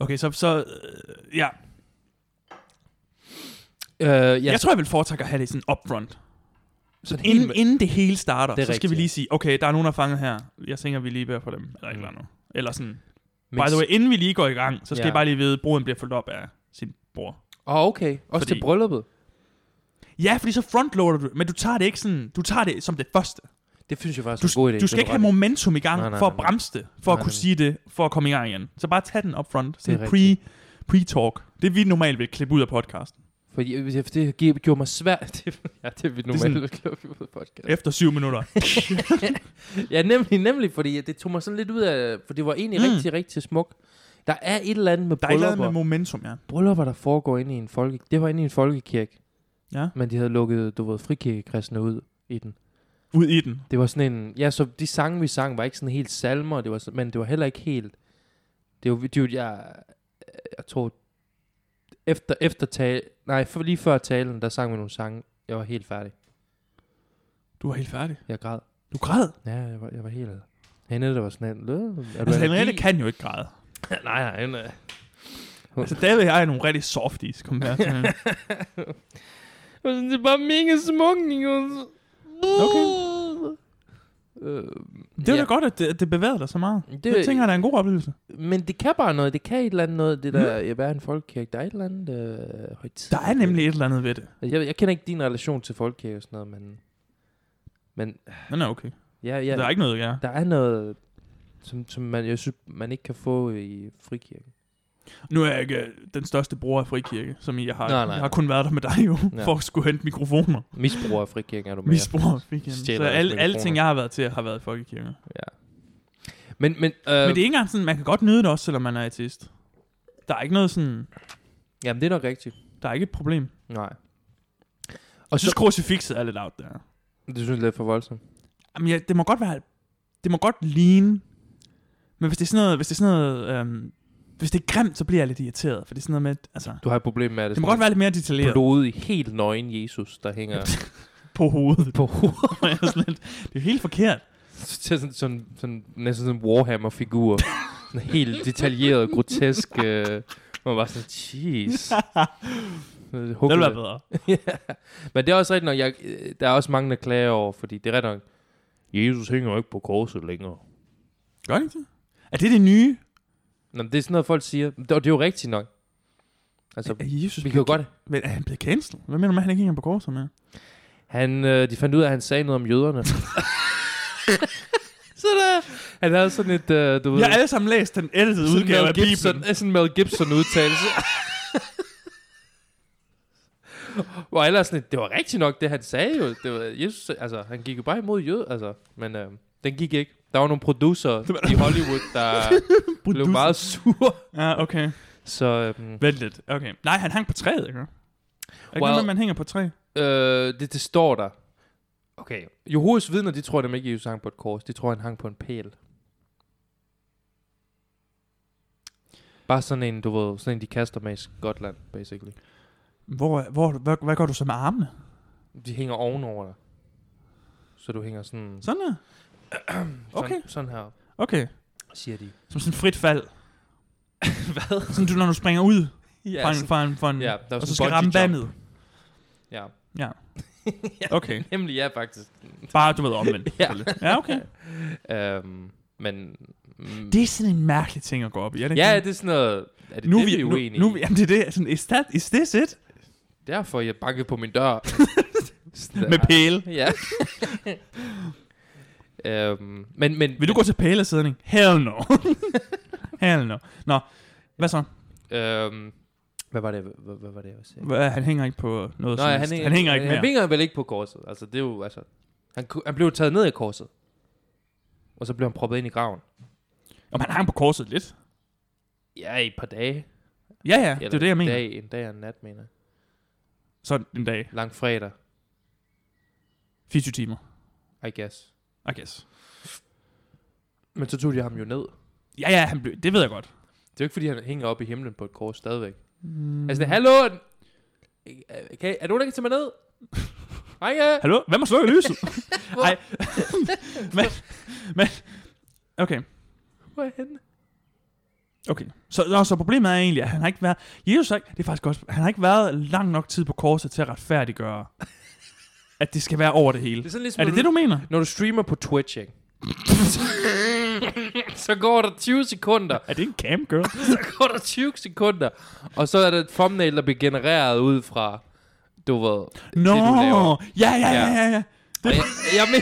B: Okay, så... så øh, ja.
A: Uh, ja,
B: Jeg tror, jeg vil foretrække at have det sådan upfront.
A: sådan helt
B: Inden,
A: med-
B: inden det hele starter,
A: Det
B: så
A: er
B: skal
A: rigtigt,
B: vi lige
A: ja.
B: sige, okay, der er nogen, der er fanget her. Jeg tænker, vi lige beder for dem. Eller ikke
A: Mm.
B: mm. Eller sådan...
A: men-
B: By the way, inden vi lige går i gang, så skal
A: Ja.
B: jeg bare lige vide, at broden bliver fuldt op af sin bror.
A: Åh, oh, okay. Også
B: Fordi-
A: til brylluppet.
B: Ja, fordi så frontloader du, men du tager det ikke sådan, du tager det som det første.
A: Det synes jeg faktisk
B: Du,
A: er en god idé.
B: du skal
A: det
B: ikke
A: var
B: have
A: ret
B: momentum i gang
A: Nej,
B: nej, nej,
A: nej,
B: for at
A: nej.
B: bremse det, for nej,
A: Nej,
B: at kunne
A: nej.
B: sige det, for at komme i gang igen. Så bare tag den up front. Det
A: Det er
B: er pre, pre-talk. Det vi normalt vil klippe ud af podcasten.
A: i. Fordi jeg- for det gi- gjorde mig svært. Det- ja, det er vi
B: sådan-
A: normalt sådan... ud af podcast.
B: Efter syv minutter.
A: Ja, nemlig, nemlig, fordi det tog mig sådan lidt ud af... For det var egentlig
B: Mm.
A: mm. rigtig, rigtig smuk. Der er et eller andet med
B: Der er et eller andet
A: bryllupper.
B: med momentum, ja.
A: bryllupper, der foregår inde i en folke... Det var inde i en folkekirke.
B: Ja.
A: Men de havde lukket, du ved, frikirkekristne ud i den.
B: Ud i den.
A: Det var sådan en... Ja, så de sange, vi sang, var ikke sådan helt salmer, det var, sådan- men det var heller ikke helt... Det var, det var jeg, jeg tror... Efter, efter tale, nej, for lige før talen, der sang vi nogle sange. Jeg var helt færdig.
B: Du var helt færdig.
A: Jeg græd.
B: Du græd.
A: Ja, jeg var, jeg var helt... Hende, der var sådan en... "Øh, Er du
B: Altså, Henriette
A: allergi?"
B: kan jo ikke græde.
A: nej, nej, hun er-
B: Altså, David og jeg er nogle rigtig softies, kom her.
A: Og sådan, det er bare mega smukt, Nikos.
B: Okay.
A: Øh,
B: Det er da
A: ja.
B: godt, at det, at det bevæger dig så meget. Det,
A: Det-
B: det tænker jeg, der er en god oplevelse.
A: Men det kan bare noget. Det kan et eller andet noget, det der at være en folkekirke. Der er et eller andet øh, højtid.
B: Der er nemlig et eller andet ved det.
A: Jeg, jeg kender ikke din relation til folkekirke og sådan noget, men... Men
B: Men er okay.
A: ja, ja,
B: Der er ikke noget, ja.
A: der er noget, som, som man, jeg synes, man ikke kan få i frikirken.
B: Nu er jeg ikke øh, den største bruger af frikirke, som I jeg har.
A: Nej, nej.
B: Jeg har kun været der med dig jo,
A: Ja.
B: for at skulle hente mikrofoner.
A: Misbrug af frikirken er du mere.
B: Misbrug af frikirken. Så
A: Stjæler også
B: alle, alle
A: mikrofoner. Øh.
B: ting, jeg har været til, har været i folkekirken.
A: Men, men, øh,
B: Men det er ikke engang sådan, man kan godt nyde det også, selvom man er ateist. Der er ikke noget sådan,
A: Jamen, det er nok rigtigt.
B: der er ikke et problem.
A: Nej.
B: Jeg synes, krucifixet er lidt out der.
A: Det synes jeg er lidt for voldsomt.
B: Jamen, ja, det må godt være, det må godt ligne. Men hvis det er sådan noget, hvis det er sådan noget, øhm, hvis det er grimt, så bliver jeg lidt irriteret, for det er sådan noget med, altså,
A: Du har et problem med, at det,
B: det må godt være lidt mere detaljeret på,
A: blod i helt nøgen Jesus, der hænger
B: på hovedet.
A: på hovedet.
B: Jeg er sådan lidt, det er jo helt forkert.
A: Til sådan, sådan, sådan, næsten sådan en Warhammer-figur. sådan helt detaljeret, grotesk. Øh, man var sådan, jeez. det
B: Det ville være bedre.
A: Men det er også rigtigt nok, jeg, øh, der er også mange, der klager over, fordi det er rigtigt nok, Jesus hænger jo ikke på korset længere.
B: Gør det ikke det? Er det det nye?
A: Nå, men det er sådan noget, folk siger. Det, og det er jo rigtigt nok. Altså,
B: Er Jesus
A: vi kan jo godt...
B: Men er han blevet cancelled? Hvad mener du med, at han ikke hænger på korset med?
A: Han, øh, de fandt ud af, at han sagde noget om jøderne. så der, han havde sådan et, øh, du ved...
B: Jeg har alle sammen læst den ældste
A: sådan
B: udgave af
A: Mel Gibson,
B: Bibelen.
A: Sådan en Mel Gibson-udtalelse. Og ellers sådan, et, det var rigtigt nok, det han sagde jo. Det var, Jesus, altså, han gik jo bare imod jød, altså. Men øh, den gik ikke. Der var nogle producer i Hollywood, der blev
B: Producer.
A: meget sure.
B: Ja, okay.
A: Så øhm,
B: Vent lidt. Okay. Nej, han hang på træet, ikke? Er det ikke
A: Well-
B: noget, man hænger på træ?
A: øh, det, det står der. Okay. Jehovas vidner, de tror nemlig ikke, at Jesus hang på et kors. De tror, han hang på en pæl. Bare sådan en, du ved, sådan en, de kaster med i Skotland, basically.
B: Hvor, hvor, hvad, hvad gør du så med armene?
A: De hænger ovenover dig. Så du hænger sådan...
B: Sådan der. okay.
A: Sådan, sådan her,
B: Okay.
A: siger de.
B: Som sådan et frit fald.
A: Hvad?
B: Sådan du, når du springer ud
A: Ja,
B: fra en, fra en, fra en
A: ja, der er
B: Mm. og
A: sådan
B: så skal
A: bungee
B: ramme
A: jump.
B: vandet.
A: Ja.
B: Ja. Okay.
A: Nemlig ja, faktisk.
B: Bare, du ved, omvendt.
A: Ja.
B: selvfølgelig. ja, okay.
A: Øhm, men... Mm,
B: Det er sådan en mærkelig ting at gå op i, er det ikke
A: ja,
B: det?
A: det er sådan noget... Er det
B: nu,
A: det,
B: vi,
A: er
B: nu,
A: uenige
B: nu,
A: i?
B: jamen det er det, sådan, is, that, is this it?
A: Derfor jeg bankede på min dør. Sådan
B: Med
A: der.
B: pæle.
A: Ja. øhm, men, men
B: Vil du gå til pælesidning? Hell no. Hell no. Nå, hvad så?
A: Øhm, hvad var det, hvad, hvad var det, jeg sagde?
B: Hva- Han hænger ikke på noget som helst. han hænger ikke
A: han,
B: mere.
A: han hænger vel ikke på korset. Altså, det er jo, altså... Han, ku- han blev taget ned i korset. Og så blev han proppet ind i graven.
B: Om han hang på korset lidt.
A: Ja, i et par dage.
B: Ja, ja, det er
A: Eller
B: det, jeg
A: en
B: mener.
A: Dag, en dag og en nat, mener jeg.
B: Sådan en dag.
A: Lang fredag,
B: 24 timer,
A: I guess.
B: I guess.
A: Men så tog de ham jo ned.
B: Ja, ja, han blev, det ved jeg godt.
A: Det er jo ikke, fordi han hænger op i himlen på et kors stadigvæk.
B: Mm.
A: Altså, det, hallo! Okay, er du nogen, der kan tage mig ned? Hej, ja.
B: Hallo? Hvem har slukket lyset? Nej. men, men, okay.
A: Hvor er han?
B: Okay. Så, nå, så problemet er egentlig, at han har ikke været... Jesus har ikke, det er faktisk godt. Han har ikke været lang nok tid på korset til at retfærdiggøre, at det skal være over det hele.
A: Det er sådan ligesom,
B: Er det det, du mener?
A: Når du streamer på Twitch, ikke? så går der 20 sekunder.
B: Er det en cam girl?
A: Så går der 20 sekunder. Og så er der et thumbnail, der bliver genereret ud fra, du ved...
B: Nå,
A: du laver.
B: ja, ja, ja,
A: Ja.
B: ja, ja.
A: Og jeg, jeg men,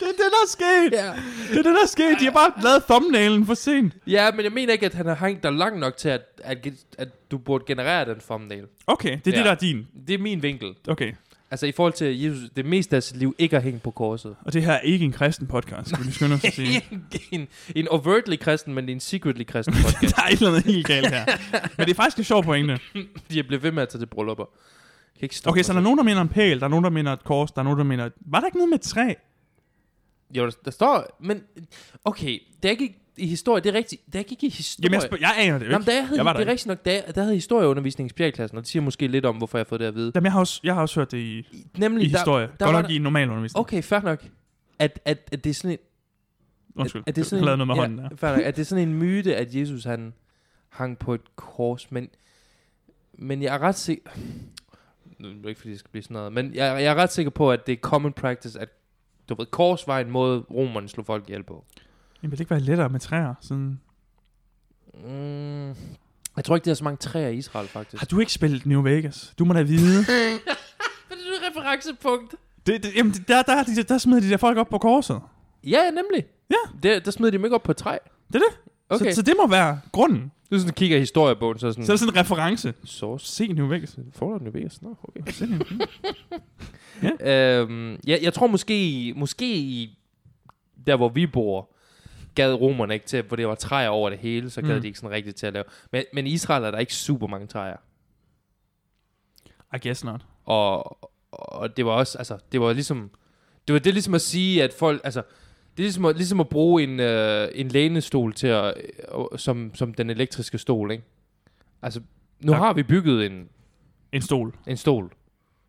B: Det er det, der er sket.
A: ja.
B: Det er det, der er sket. De har bare lavet thumbnailen for sent.
A: ja, men jeg mener ikke, at han har hængt dig langt nok til, at, at, at du burde generere den thumbnail.
B: Okay, det er ja.
A: Ja.
B: det, der er din.
A: Det er min vinkel.
B: Okay.
A: Altså i forhold til, at Jesus det meste af sit liv ikke har hængt på korset.
B: Og det her er ikke en kristen podcast, skulle vi lige skynde os at sige.
A: en, en overtly kristen, men en secretly kristen podcast.
B: Der er et eller andet helt galt her. Men det er faktisk en sjov pointe.
A: De er blevet ved med at tage til bryllupper. Jeg Kan ikke stoppe
B: Okay,
A: mig
B: så der er nogen, der mener en pæl, der er nogen, der mener et kors, der er nogen, der mener... Var der ikke noget med et træ?
A: Jo, der, der står... Men okay, da jeg gik i historie, det er rigtigt. Da jeg gik i historie...
B: Jamen, jeg, spørger, jeg aner det jo
A: Jamen,
B: ikke.
A: da jeg havde,
B: Jeg var der
A: det er
B: ikke.
A: rigtigt nok, da, jeg- der havde historieundervisning i spjælklassen, og det siger måske lidt om, hvorfor jeg har fået det at vide.
B: Jamen, jeg har også, jeg har også hørt det i,
A: Nemlig,
B: i historie.
A: Der,
B: Der,
A: der
B: Godt
A: var
B: nok i normal undervisning.
A: Okay, fair nok. At, at, at det er sådan en...
B: Undskyld,
A: at, at det er sådan
B: jeg lavede noget med hånden
A: ja,
B: der.
A: fair nok, At det er sådan en myte, at Jesus han hang på et kors, men, men jeg er ret sikker... Nu er det ikke, fordi det skal blive sådan noget, men jeg, jeg er ret sikker på, at det er common practice, at du ved, kors var en måde, romerne slog folk ihjel på.
B: Jamen, vil det ikke være lettere med træer? Sådan...
A: Mm, jeg tror ikke, det er så mange træer i Israel, faktisk.
B: Har du ikke spillet New Vegas? Du må da
A: Men
B: vide.
A: det er et referencepunkt.
B: det, det, jamen, det- der, der, der, der smider de der folk op på korset.
A: Ja, nemlig.
B: Ja.
A: Det, der smed de dem ikke op på et træ.
B: Det er det.
A: Okay. Hmm.
B: Så, så det må være grunden.
A: Du sådan kigger i historiebogen, så er sådan...
B: Så er det sådan en reference.
A: Source.
B: Se nu væk.
A: Fallout New Vegas. Nå, okay.
B: Se nu.
A: Øhm, ja, jeg tror måske, måske i der, hvor vi bor, gad romerne ikke til, hvor det var træer over det hele, så gad
B: Mm.
A: mm. de ikke sådan rigtigt til at lave. Men, men i Israel er der ikke super mange træer.
B: I guess not.
A: Og, og det var også, altså, det var ligesom, det var det ligesom at sige, at folk, altså, det er ligesom at, ligesom at bruge en, øh, en lænestol til at, øh, som, som den elektriske stol, ikke? Altså, nu
B: Tak.
A: har vi bygget en,
B: En stol.
A: en stol.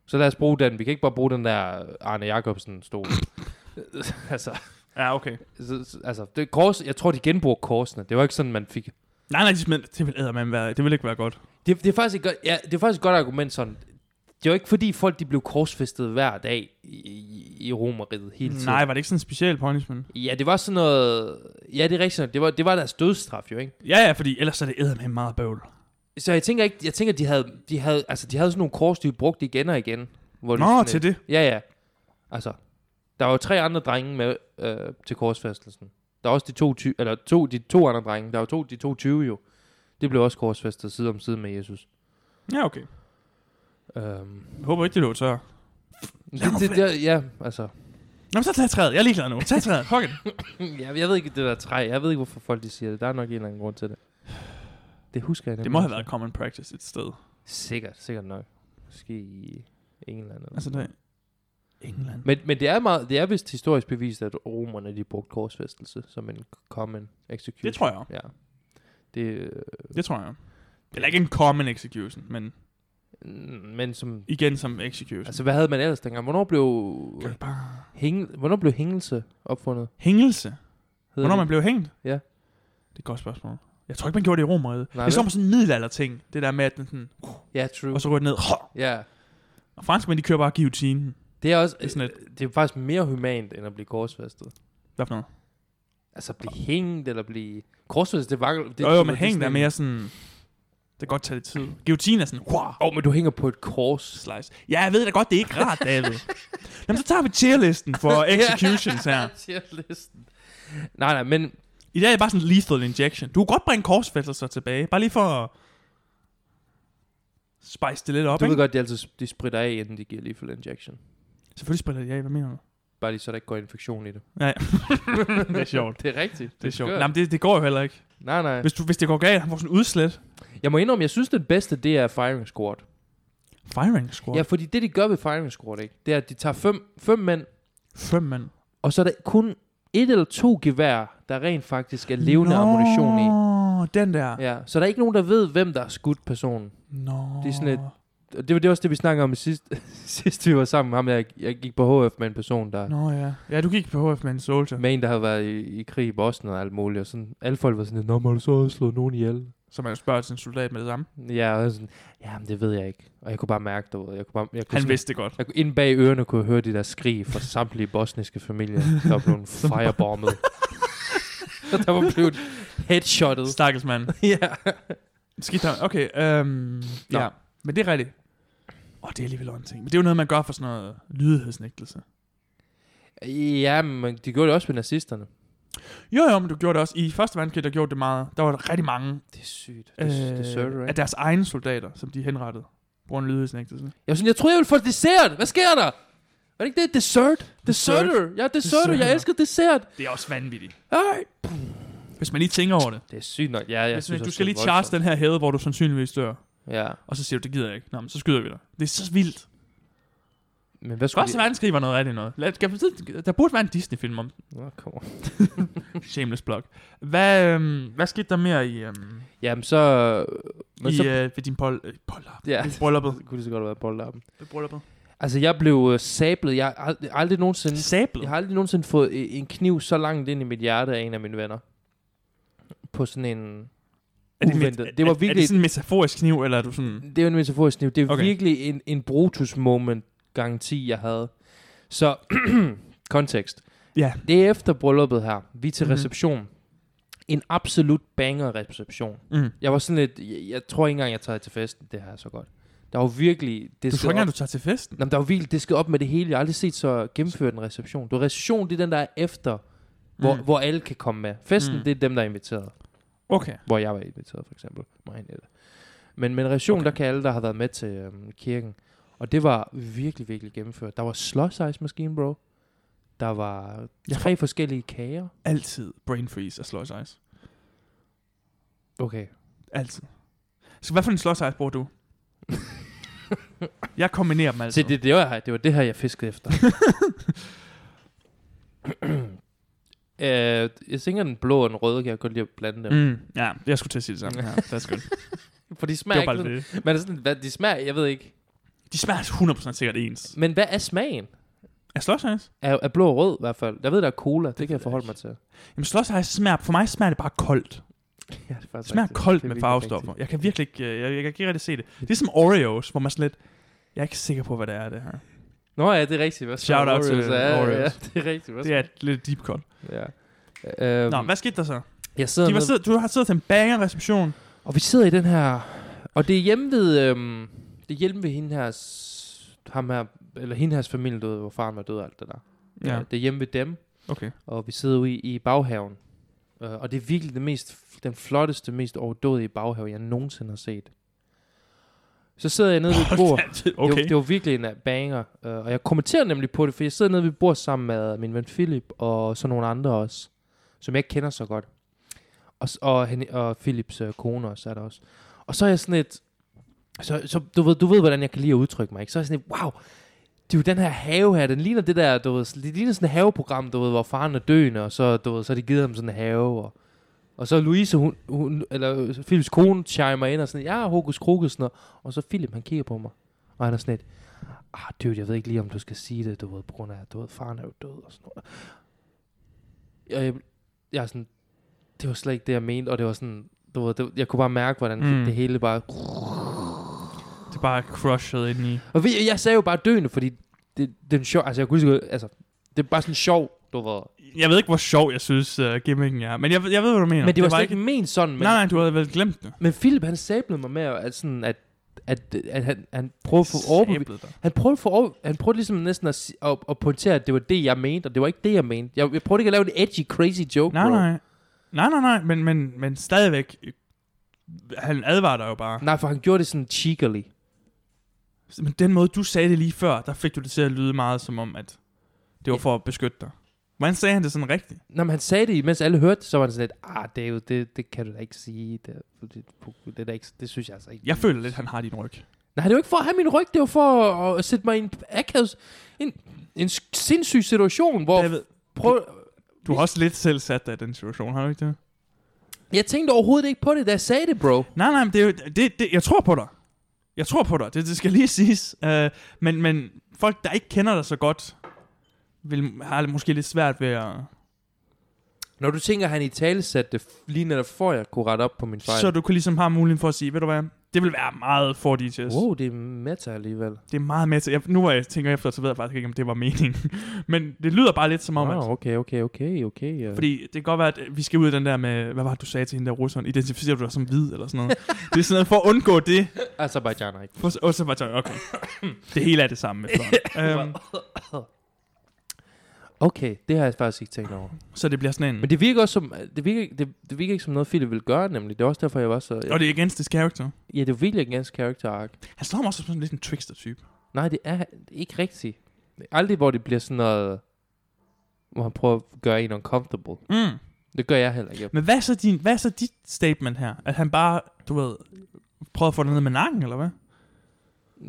A: Så lad os bruge den. Vi kan ikke bare bruge den der Arne Jacobsen-stol. altså,
B: Ja, okay.
A: så, så- altså det, kors, jeg tror, de genbrugte korsene. Det var ikke sådan, man fik...
B: Nej, nej, de smed, det vil ædermame være. Det vil ikke være godt.
A: Det, det, er faktisk et godt, ja, det er faktisk et godt argument sådan. Det var ikke fordi folk de blev korsfæstet hver dag i, i, i Romeriet hele tiden.
B: Nej, var det ikke sådan en speciel punishment?
A: Ja, det var sådan noget... Ja, det er rigtigt. nok. Det var, det var deres dødsstraf jo, ikke?
B: Ja, ja, fordi ellers er det ædermame meget bøvl.
A: Så jeg tænker ikke... Jeg tænker, de havde, de havde, altså, de havde sådan nogle kors, de brugt igen og igen. Hvor de
B: Nå,
A: sådan
B: til
A: et-
B: det.
A: Ja, ja. Altså, der var jo tre andre drenge med øh, til korsfæstelsen. Der er også de to, ty- eller to, de to andre drenge. Der var to, de to 20 jo. Det blev også korsfæstet side om side med Jesus.
B: Ja, okay.
A: Øhm,
B: Jeg håber ikke, det lå tør.
A: det,
B: Lad mig
A: det, det, ja, altså.
B: Nå, men så tag træet. Jeg er ligeglad nu. Tag træet. Fuck it.
A: Jeg, jeg ved ikke, det der træ. Jeg ved ikke, hvorfor folk de siger det. Der er nok en eller anden grund til det. Det husker jeg
B: Det må have været common practice et sted.
A: Sikkert, sikkert nok. Måske i England. Eller
B: Altså,
A: noget.
B: det England.
A: Men, men det er meget, det er vist historisk bevist, at romerne de brugte korsfæstelse som en common execution.
B: Det tror jeg.
A: Ja. Det, øh,
B: Det tror jeg. Eller ikke en common execution, men
A: Mm, men som...
B: igen som execution. Altså,
A: Altså, hvad havde man ellers dengang? Hvornår blev,
B: kan du bare...
A: hæng, hvornår blev hængelse opfundet?
B: Hængelse.
A: Hedder
B: Hvornår
A: det?
B: man blev hængt?
A: Ja.
B: Det er et godt spørgsmål. Jeg tror ikke, man gjorde det i Romeriet.
A: Nej,
B: Det er som
A: vel?
B: sådan en middelalder-ting. Det der med, at den sådan,
A: Ja, true.
B: og så går den ned.
A: Ja.
B: Og franskmænd, de kører bare guillotinen.
A: Det er også...
B: Det er sådan
A: Det er faktisk mere humant, end at blive korsfæstet.
B: Hvad for noget?
A: Altså, blive hængt eller blive... Korsfæstet, det var... Det,
B: Det, jo, jo,
A: det-
B: men
A: det
B: hæng der
A: sådan en-
B: mere sådan... Det kan godt tage lidt tid. Guillotinen er sådan... Wow,
A: Åh, oh, men du hænger på et kors.
B: slice. Ja, jeg ved da godt, det er ikke rart, David. Jamen, så tager vi tierlisten for executions her.
A: Siger listen. Nej, nej, men...
B: I dag er det bare sådan lethal injection. Du kan godt bringe korsfæstelser tilbage. Bare lige for at spice det lidt op,
A: Du ved
B: ikke?
A: godt, de altid de spritter af, inden de giver lethal injection.
B: Selvfølgelig spiller de af. Hvad mener du?
A: Bare lige så der ikke går infektion i det.
B: Nej. det er sjovt.
A: Det er rigtigt.
B: Det er sjovt.
A: skørt.
B: Nej, men det, det går jo heller ikke.
A: Nej, nej.
B: Hvis, du, hvis det går galt, han får sådan en udslet.
A: Jeg må indrømme, jeg synes, den bedste, det er firing squad.
B: Firing squad.
A: Ja, fordi det, de gør ved firing squad, ikke? Det er, at de tager fem, fem mænd,
B: Fem mand.
A: og så er der kun et eller to gevær, der rent faktisk er levende ammunition i.
B: Nå, den der. Ja.
A: Ja, så der er ikke nogen, der ved, hvem der har skudt personen.
B: Nå.
A: Det er sådan lidt- Og det var det er også det, vi snakkede om i sidst, sidst vi var sammen med ham. Jeg, jeg gik på HF med en person, der...
B: Nå ja. Ja, du gik på HF med en soldier.
A: Med en, der havde været i, i krig i Bosnien og alt muligt. Og sådan, alle folk var sådan, lidt, Nå, men har du så også slået nogen ihjel?
B: Så man jo spørger til en soldat med det samme.
A: Ja, og jeg var sådan, jamen det ved jeg ikke. Og jeg kunne bare mærke det, jeg kunne bare, jeg kunne
B: Han
A: sådan-
B: vidste det godt.
A: Jeg kunne, inde bag ørerne kunne jeg høre de der skrig fra samtlige bosniske familier, der blev firebombet. der var blevet headshottet.
B: Stakkels mand.
A: ja.
B: Skidt ham. Okay, øhm,
A: Nå.
B: ja. Men det er rigtigt. Åh, det er alligevel også en ting. Men det er jo noget, man gør for sådan noget lydighedsnægtelse.
A: ja, men de gjorde det også med nazisterne.
B: Jo, jo, men du gjorde det også. I første verdenskrig, der gjorde det meget. Der var der rigtig mange
A: Det er sygt. Det, øh, det sørger
B: af
A: ikke?
B: deres egne soldater, som de henrettede. Bruger en lydighedsnægtelse.
A: Jeg var sådan, jeg troede, jeg ville få dessert. Hvad sker der? Var det ikke det? Dessert?
B: Dessert.
A: Desserter. Ja, desserter.
B: Desserter.
A: Jeg elsker dessert.
B: Det er også vanvittigt.
A: Ej.
B: Hvis man lige tænker over det.
A: Det er sygt nok. Ja, jeg
B: Hvis
A: synes,
B: man, du
A: også,
B: skal
A: det
B: lige
A: er
B: charge den her hæde, hvor du sandsynligvis dør.
A: voldsomt. Ja.
B: Og så siger du, det gider jeg ikke. Nå, men så skyder vi dig. Det er så vildt.
A: Men hvad skulle
B: Første verdenskrig var noget rigtigt noget. Lad, skal, der burde være en Disney-film om den.
A: de... Nå, kom on.
B: Shameless plug. Hvad, øhm, hvad skete der mere i, øhm,
A: Jamen så... Men
B: i
A: så...
B: øh, ved din pol, øh, polter,
A: Ja,
B: i brylluppet?
A: det kunne lige så godt have været boldappen.
B: Ved brylluppet.
A: Altså, jeg blev øh, sablet. Jeg har aldrig, aldrig nogensinde...
B: Sablet.
A: Jeg har aldrig nogensinde fået øh, en kniv så langt ind i mit hjerte af en af mine venner. På sådan en...
B: Er det,
A: uventet.
B: er,
A: Det var
B: er, er
A: virkelig-
B: det sådan en metaforisk kniv, eller er du sådan...
A: Det er jo en metaforisk kniv. Det er
B: Okay.
A: okay. virkelig en, en Brutus-moment-garanti, jeg havde. Så, kontekst.
B: Ja.
A: Det er efter brylluppet her. Vi er til
B: Mhm.
A: reception. En absolut banger-reception.
B: Mm.
A: Jeg var sådan lidt... Jeg, jeg tror ikke engang, jeg tager til festen. Det her er så godt. Der var virkelig... Det
B: Du tror ikke engang, du tager til festen?
A: Nå, men der var vildt disket op med det hele. Jeg har aldrig set så gennemført en reception. Du, reception, det er den, der er efter, hvor,
B: Mm.
A: hvor alle kan komme med. Festen,
B: Mm.
A: det er dem, der er inviteret.
B: Okay.
A: hvor jeg var inviteret, for eksempel. Mig og Annette. Men med en relation, okay. der kan alle, der har været med til øhm, kirken. Og det var virkelig, virkelig gennemført. Der var slåsejsmaskine, bro. Der var
B: Jeg
A: tre forskellige kager.
B: Altid brain freeze og slush ice.
A: Okay.
B: Altid. Så hvad for en slush ice bruger du? jeg kombinerer dem altid.
A: Altså. Se, det, det, var, det var det her, jeg fiskede efter. øh, jeg tænker, den blå og den røde kan jeg godt lide at blande dem.
B: Mm, ja, jeg skulle til at sige det samme. Ja, that's good.
A: Mm. For de
B: det
A: smager
B: var
A: ikke
B: bare
A: sådan,
B: det.
A: men det er sådan, hvad, de smager, jeg ved ikke.
B: De smager altså 100% sikkert ens.
A: Men hvad er smagen?
B: Er slush ice?
A: Er, er blå og rød i hvert fald. Jeg ved, der er cola. Det, det kan jeg forholde mig til.
B: Jamen slush ice smager, for mig smager det bare koldt.
A: Ja, det er
B: Det smager koldt med farvestoffer. Jeg kan virkelig ikke, øh, jeg, jeg kan ikke rigtig se det. Det er som Oreos, hvor man slet... Jeg er ikke sikker på, hvad det er, det her.
A: Nå ja, det er rigtigt. Hvad
B: Shout out til
A: Oreos er. Ja, ja,
B: Oreos.
A: det er rigtigt. Hvad
B: Det er et lidt deep cut.
A: Ja. Øhm,
B: Nå, hvad skete der så?
A: jeg sidder
B: De var
A: nede-
B: siddet, du har siddet til en banger-reception.
A: Og vi sidder i den her... Og det er hjemme ved... Øhm, det er hjemme ved hende her... s- Ham her eller hende hers familie døde, hvor faren var død og alt det der.
B: Ja.
A: Øh, Det er hjemme ved dem,
B: Okay.
A: og vi sidder ude i, i baghaven. Øh, og det er virkelig den, mest, den flotteste, mest overdådige baghave, jeg nogensinde har set. Så sidder jeg nede ved et bord. Det, var,
B: Okay.
A: det var virkelig en øh, banger. øh, og jeg kommenterer nemlig på det, for jeg sidder nede ved et bord sammen med min ven Philip og så nogle andre også, som jeg ikke kender så godt. Og, s- og, hende, og Philips øh, kone også er der også. Og så er jeg sådan et... Så, så du, ved, du ved, hvordan jeg kan lide at udtrykke mig, ikke? Så er jeg sådan et, wow, det er jo den her have her, den ligner det der, du ved, det ligner sådan et haveprogram, du ved, hvor faren er døende, og så, du ved, så har de givet ham sådan en have, og, og så Louise, hun, hun, eller Philips kone, chimer ind og sådan, ja, hokus krokus, og, og så Philip, han kigger på mig, og han er sådan et, ah, dude, jeg ved ikke lige, om du skal sige det, du ved, på grund af, du ved, faren er jo død, og sådan noget. Og jeg, jeg er sådan, det var slet ikke det, jeg mente, og det var sådan, du ved, det, jeg kunne bare mærke, hvordan
B: Mm.
A: mm. det hele bare
B: Det er bare crushet ind i.
A: og vi, jeg sagde jo bare døende, fordi det, det er en sjov... Altså, jeg kunne lige så godt- altså, det er bare sådan sjov, du ved.
B: Jeg ved ikke, hvor sjov jeg synes, uh, gimmicken er. Men jeg, jeg ved, hvad du mener.
A: Men det var slet ikke ment sådan. Men,
B: Nej, nej, du havde vel glemt det.
A: men Philip, han sablede mig med, at, sådan, at, at, at han, han prøvede at få overbevist.
B: Sablet dig.
A: Han prøvede, for over, han prøvede ligesom næsten at, si- at, at, pointere, at det var det, jeg mente, og det var ikke det, jeg mente. Jeg, jeg prøvede ikke at lave en edgy, crazy joke,
B: Nej,
A: bro.
B: nej. Nej, nej, nej, men, men, men stadigvæk... øh, Han advarer dig jo bare.
A: Nej, for han gjorde det sådan cheekily.
B: Men den måde, du sagde det lige før, der fik du det til at lyde meget som om, at det var for at beskytte dig. Hvordan sagde han det sådan rigtigt?
A: Når han sagde det, mens alle hørte det, så var det sådan lidt, ah, David, det, det kan du da ikke sige. Det, det, det, er da ikke, det synes jeg altså ikke.
B: Jeg føler lidt, han har din ryg.
A: Nej, det var ikke for at have min ryg, det var for at, at sætte mig i en, akavet, en, en sindssyg situation, hvor...
B: David,
A: prøv,
B: du har også lidt selv sat dig i den situation, har du ikke det?
A: jeg tænkte overhovedet ikke på det, da jeg sagde det, bro.
B: Nej, nej, men det, er jo- det, det, jeg tror på dig. Jeg tror på dig, det, det skal lige siges. Uh, men, men folk, der ikke kender dig så godt, vil, har måske lidt svært ved at...
A: Når du tænker, at han i tale satte det f- lige netop for, at jeg kunne rette op på min fejl.
B: Så du kan ligesom have muligheden for at sige, ved du hvad, det vil være meget for DJ's.
A: Wow, det er meta alligevel.
B: Det er meget med til... Jeg, nu hvor jeg tænker efter, så ved jeg faktisk ikke, om det var meningen. men det lyder bare lidt som om, at...
A: Wow, okay, okay, okay, okay. ja.
B: Fordi det kan godt være, at øh, vi skal ud af den der med, hvad var det, du sagde til hende der russeren? Identificerer du dig som hvid eller sådan noget? det er sådan noget for at undgå det.
A: Azerbaijan er ikke.
B: For, og så var det okay. Det hele er det samme. efterhånden. øhm,
A: Okay, det har jeg faktisk ikke tænkt over.
B: så det bliver sådan en...
A: Men det virker også som, øh, det virker, det, det virker ikke som noget, Philip ville gøre, nemlig. Det er også derfor, jeg var så...
B: Og det er against his character.
A: Ja, det er virkelig ikke hans character arc.
B: Han slår mig også som sådan lidt en trickster-type.
A: Nej, det er ikke rigtigt. Det er aldrig, hvor det bliver sådan noget, hvor han prøver at gøre en uncomfortable.
B: Mm.
A: Det gør jeg heller ikke.
B: Men hvad er, så din, hvad er så dit statement her? At han bare, du ved, prøver at få noget ned med nakken, eller hvad?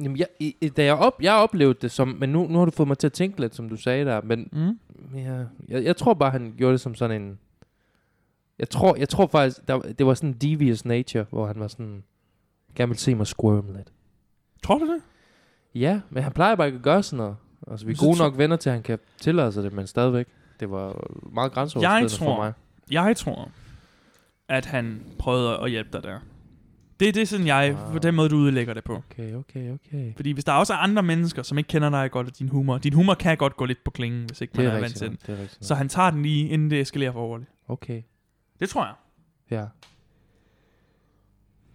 A: Jamen, jeg, i, i- da jeg, op, jeg oplevede det som, men nu, nu har du fået mig til at tænke lidt, som du sagde der, men
B: Mm.
A: ja, jeg, jeg tror bare, han gjorde det som sådan en, jeg tror, jeg tror faktisk, der, det var sådan en devious nature, hvor han var sådan, gerne ville se mig squirm lidt.
B: Tror du det?
A: Ja, men han plejer bare ikke at gøre sådan noget. Altså, vi
B: Men
A: er
B: så
A: gode
B: tror-
A: nok venner til, at han kan tillade sig det, men stadigvæk. Det var meget grænseoverskridende
B: tror-
A: for mig.
B: Jeg tror, at han prøvede at hjælpe dig der. Det, det er sådan, jeg,
A: Wow.
B: på den måde, du udlægger det på.
A: Okay, okay, okay.
B: Fordi hvis der også er andre mennesker, som ikke kender dig godt og din humor, din humor kan godt gå lidt på klingen, hvis ikke
A: Det
B: man
A: er,
B: er, vant
A: rigtigt.
B: til den.
A: nok, Det er rigtigt.
B: Så
A: Så.
B: han tager den lige, inden det eskalerer for overligt.
A: Okay,
B: Det tror jeg.
A: ja.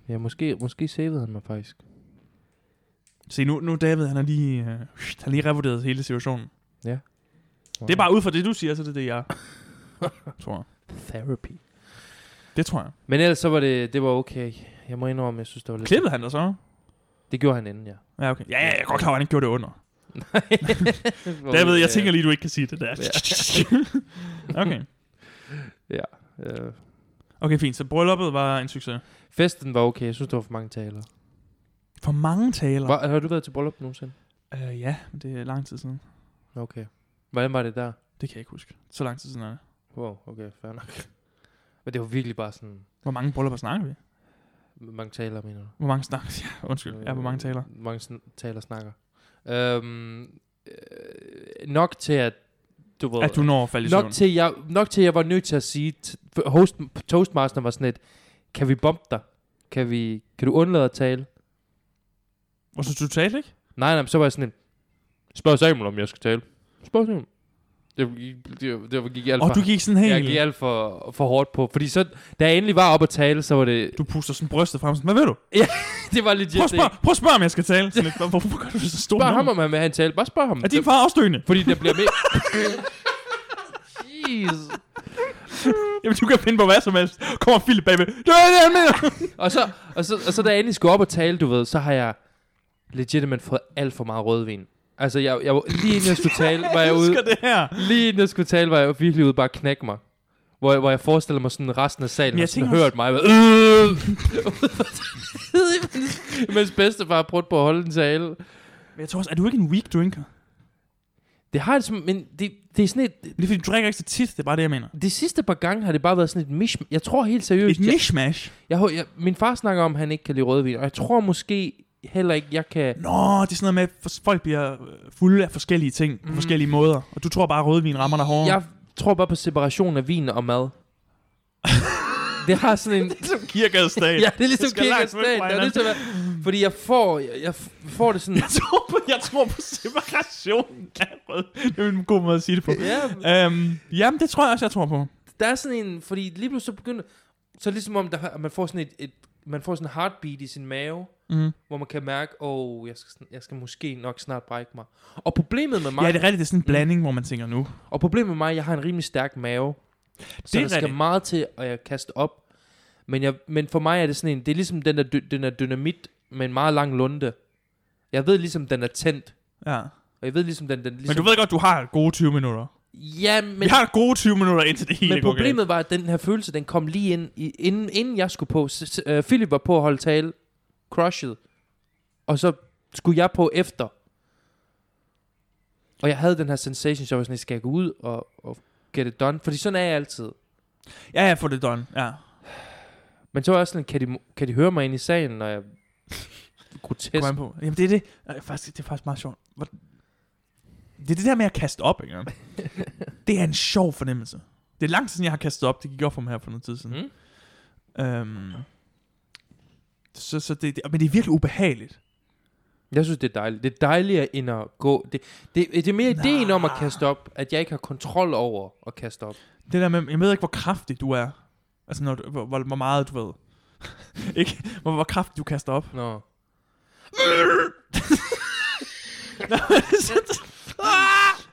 A: Ja, måske, måske savede han mig faktisk.
B: Se, nu, nu David, han har lige, øh, han har lige revurderet hele situationen.
A: Wow.
B: Det er bare ud fra det, du siger, så det er det, jeg tror.
A: Therapy.
B: Det tror jeg.
A: Men ellers så var det, det var okay. Jeg må indrømme, jeg synes, det var lidt...
B: Klippede han der så?
A: Det gjorde han inden, ja.
B: Ja, okay. Ja, ja, jeg er godt klar, over, at han ikke gjorde det under.
A: Hvor
B: David,
A: vi,
B: jeg
A: øh,
B: tænker lige, du ikke kan sige det der. okay.
A: Øh,
B: okay, fint. Så brylluppet var en succes.
A: festen var okay. Jeg synes, der var for mange taler.
B: For mange taler.
A: Hvor, har du været til bryllup nogensinde?
B: Øh, ja, men det er lang tid siden.
A: Okay. Hvordan var det der?
B: Det kan jeg ikke huske. Så lang tid siden er det.
A: Wow, okay, fair nok. Men det var virkelig bare sådan...
B: Hvor mange bryllupper snakker vi?
A: hvor Mange taler, mener du? Øh,
B: Hvor mange snakker ja, Undskyld. Ja, hvor mange taler?
A: Hvor mange sn- taler snakker. Øhm, øh, nok til, at du ved...
B: At du når at falde i søvn.
A: nok, til, jeg, nok til, jeg var nødt til at sige... T- for host, Toastmaster var sådan et... Kan vi bombe dig? Kan, vi, kan du undlade at tale?
B: Og så du talte, ikke?
A: Nej, nej, men så var jeg sådan en... Spørg Samuel, om jeg skal tale. Spørg Samuel. Det, det, det gik alt
B: Og
A: for...
B: du gik sådan
A: jeg gik
B: helt...
A: alt for, for hårdt på. Fordi så, da jeg endelig var op at tale, så var det...
B: Du puster sådan brystet frem. Sådan, hvad ved du?
A: Det var legit
B: Prøv at
A: det.
B: spørge, prøv at spørge om jeg skal tale. Sådan lidt, "Hvor- hvorfor gør du så stor
A: Spørg ham,
B: nummer?
A: om han vil have en tale. Bare spørg ham.
B: Er din far også døende?
A: Fordi der bliver mere... Jeez.
B: Jamen, du kan finde på hvad som helst. Kommer Philip bagved. Det er det, jeg mener.
A: Og så, og, så, og så da jeg endelig skulle op og tale, du ved, så har jeg legitimate fået alt for meget rødvin. Altså, jeg, jeg, var- lige inden jeg skulle tale, var jeg
B: Jeg
A: ude...
B: elsker det her.
A: Lige inden jeg skulle tale, var jeg virkelig ude bare at knække mig. Hvor, jeg- hvor jeg forestiller mig sådan resten af salen,
B: Men jeg
A: har sådan
B: tænker
A: hørt mig. Øh, Mens bedstefar prøvede på at holde en tale.
B: Men jeg tror også, er du ikke en weak drinker?
A: Det har det som, men det, det er sådan et,
B: Det er fordi, du drikker ikke så tit. Det er bare det, jeg mener.
A: de sidste par gange har det bare været sådan et mish. Jeg tror helt seriøst,
B: Et
A: jeg,
B: mishmash.
A: jeg, jeg, min far snakker om, at han ikke kan lide rødvin, og jeg tror måske heller ikke, jeg kan...
B: Nå, det er sådan noget med, at fors- folk bliver øh, fulde af forskellige ting på forskellige måder. Og du tror bare, at rødvin rammer dig hårdere.
A: Mm. Jeg tror bare på separation af vin og mad. det har sådan en...
B: ligesom Kierkegaards dag.
A: Ja, det er ligesom
B: Det skal langt væk
A: kirkestat.
B: fra
A: Det er ligesom, at- fordi jeg får, jeg, jeg får det sådan...
B: Jeg tror på, jeg tror på separationen af rød. Det er en god måde at sige det på.
A: ja,
B: Øhm, jamen, det tror jeg også, jeg tror på.
A: der er sådan en... Fordi lige pludselig så begynder... Så ligesom om, der, man får sådan et, et... Man får sådan en heartbeat i sin mave,
B: Mm.
A: hvor man kan mærke, åh, oh, jeg, skal, sn- jeg skal måske nok snart brække mig. Og problemet med mig... Mm.
B: Ja, det er rigtigt. Det er sådan en blanding, hvor man tænker nu.
A: Og problemet med mig, jeg har en rimelig stærk mave. Så
B: er
A: det der skal
B: rigtigt.
A: meget til, at jeg kaster op. Men, jeg, men for mig er det sådan en, det er ligesom den der, dy- den der dynamit med en meget lang lunde. Jeg ved ligesom, den er tændt.
B: Ja.
A: Og jeg ved ligesom, den, den ligesom...
B: Men du ved godt, du har gode 20 minutter.
A: Ja, men,
B: Vi har gode 20 minutter indtil det hele
A: men
B: går galt.
A: problemet var, at den her følelse, den kom lige ind, i, inden, inden jeg skulle på. S- s- øh, Philip var på at holde tale, crushed. Og så skulle jeg på efter. Og jeg havde den her sensation, så jeg var sådan, skal jeg gå ud og, og get it done? Fordi sådan er jeg altid.
B: Ja, ja, få det done. Ja.
A: Men så er jeg også sådan, kan de, kan de høre mig ind i salen, når jeg grotesk?
B: Kom an på. Jamen, det er det. Øh, Faktisk, det er faktisk meget sjovt. Hvor- Det er det der med at kaste op, ikke? det er en sjov fornemmelse. Det er lang tid siden, jeg har kastet op. Det gik op for mig her for noget tid siden.
A: Mm.
B: Mm. Øhm, så, så det, det, men det er virkelig ubehageligt.
A: Jeg synes, det er dejligt. Det er dejligere end at gå. Det, det, det er mere ideen om at kaste op, at jeg ikke har kontrol over at kaste op.
B: Det der med, jeg ved ikke, hvor kraftig du er. Altså, når du, hvor, hvor, hvor meget du ved. ikke? Hvor, hvor kraftigt du kaster op.
A: Nå.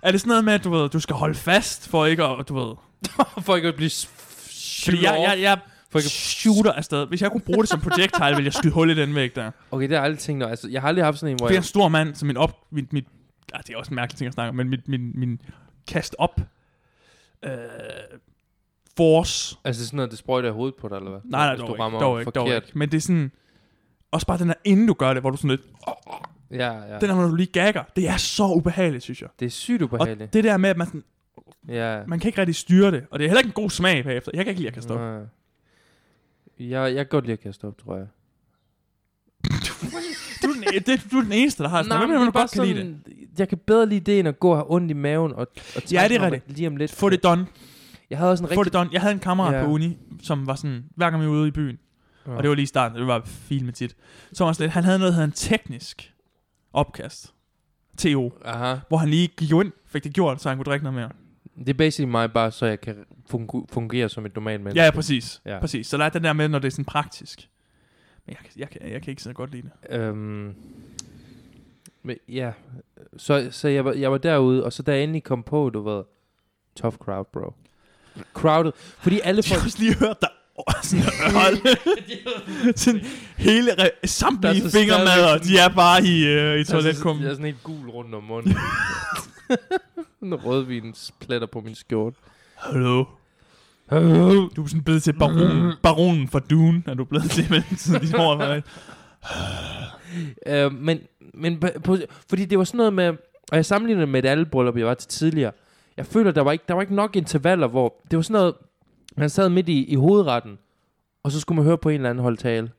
B: er det sådan noget med, at du, ved, du skal holde fast, for ikke at, du ved...
A: For ikke at blive
B: Fordi jeg, jeg, jeg
A: For ikke at...
B: shooter afsted. Hvis jeg kunne bruge det som projectile, ville jeg skyde hul i den væg der.
A: Okay, det har jeg aldrig tænkt over. Altså, jeg har aldrig haft sådan en, hvor
B: Det er en
A: jeg...
B: stor mand, som min op... Mit, mit, ah, det er også en mærkelig ting at snakke om, men mit, min, min kast op... Øh, force.
A: Altså, det er sådan noget, det sprøjter i hovedet på dig, eller hvad?
B: Nej, nej,
A: Hvis
B: dog
A: du
B: ikke,
A: rammer
B: dog ikke, dog
A: forkert.
B: ikke. Men det er sådan... Også bare den der, inden du gør det, hvor du sådan lidt...
A: Ja, ja.
B: Den der, hvor du lige gagger. Det er så ubehageligt, synes jeg.
A: Det er sygt
B: Og
A: ubehageligt.
B: det der med, at man, sådan,
A: Ja.
B: man kan ikke rigtig styre det. Og det er heller ikke en god smag bagefter. Jeg kan ikke lide at kaste op.
A: Nej. Jeg, jeg kan godt lide at kaste op, tror jeg.
B: Du, er den, e- det, du er den eneste, der har det. Hvem
A: men
B: er det,
A: det er
B: du godt kan
A: bare
B: lide det?
A: sådan- Jeg kan bedre lide det, end at gå og have ondt i maven og, og
B: Ja, det er
A: trække mig
B: rigtigt.
A: lige om lidt.
B: Få det done.
A: Jeg havde også en
B: Få
A: rigtig...
B: det done. Jeg havde en kammerat
A: Ja.
B: på uni, som var sådan, hver gang vi var ude i byen,
A: Ja.
B: og det var lige i starten, det var filmet tit, så var han sådan lidt, han havde noget, der hed en teknisk opkast. TO.
A: Aha.
B: Hvor han lige gik ind, fik det gjort, så han kunne drikke noget mere.
A: Det er basically mig bare, så jeg kan fungu- fungere som et normalt menneske.
B: Ja, ja, præcis. Ja.
A: Ja.
B: præcis. Så der er den der med, når det er sådan praktisk. Men jeg, kan- jeg, kan, jeg kan ikke så godt lide det.
A: Øhm, men ja, så, så jeg, var, jeg var derude, og så da jeg endelig kom på, du ved, tough crowd, bro. Crowded. Fordi alle
B: Jeg
A: folk...
B: har også lige hørt dig og sådan hold. sådan hele re-
A: Der er
B: samtlige
A: så
B: fingermadder,
A: stadigvæk-
B: de er bare i, øh, i
A: Jeg
B: toiletkummen.
A: er sådan helt gul rundt om munden. en rødvin pletter på min skjort.
B: Hallo. Du er sådan blevet til baron,
A: Mhm.
B: baronen fra Dune, er du blevet til, men sådan dit hår er bare-
A: Øh, men, men på, på, fordi det var sådan noget med, og jeg sammenligner det med et aldebryllup, jeg var til tidligere. Jeg føler, der var ikke, der var ikke nok intervaller, hvor det var sådan noget, man sad midt i, i hovedretten, og så skulle man høre på en eller anden holde tale.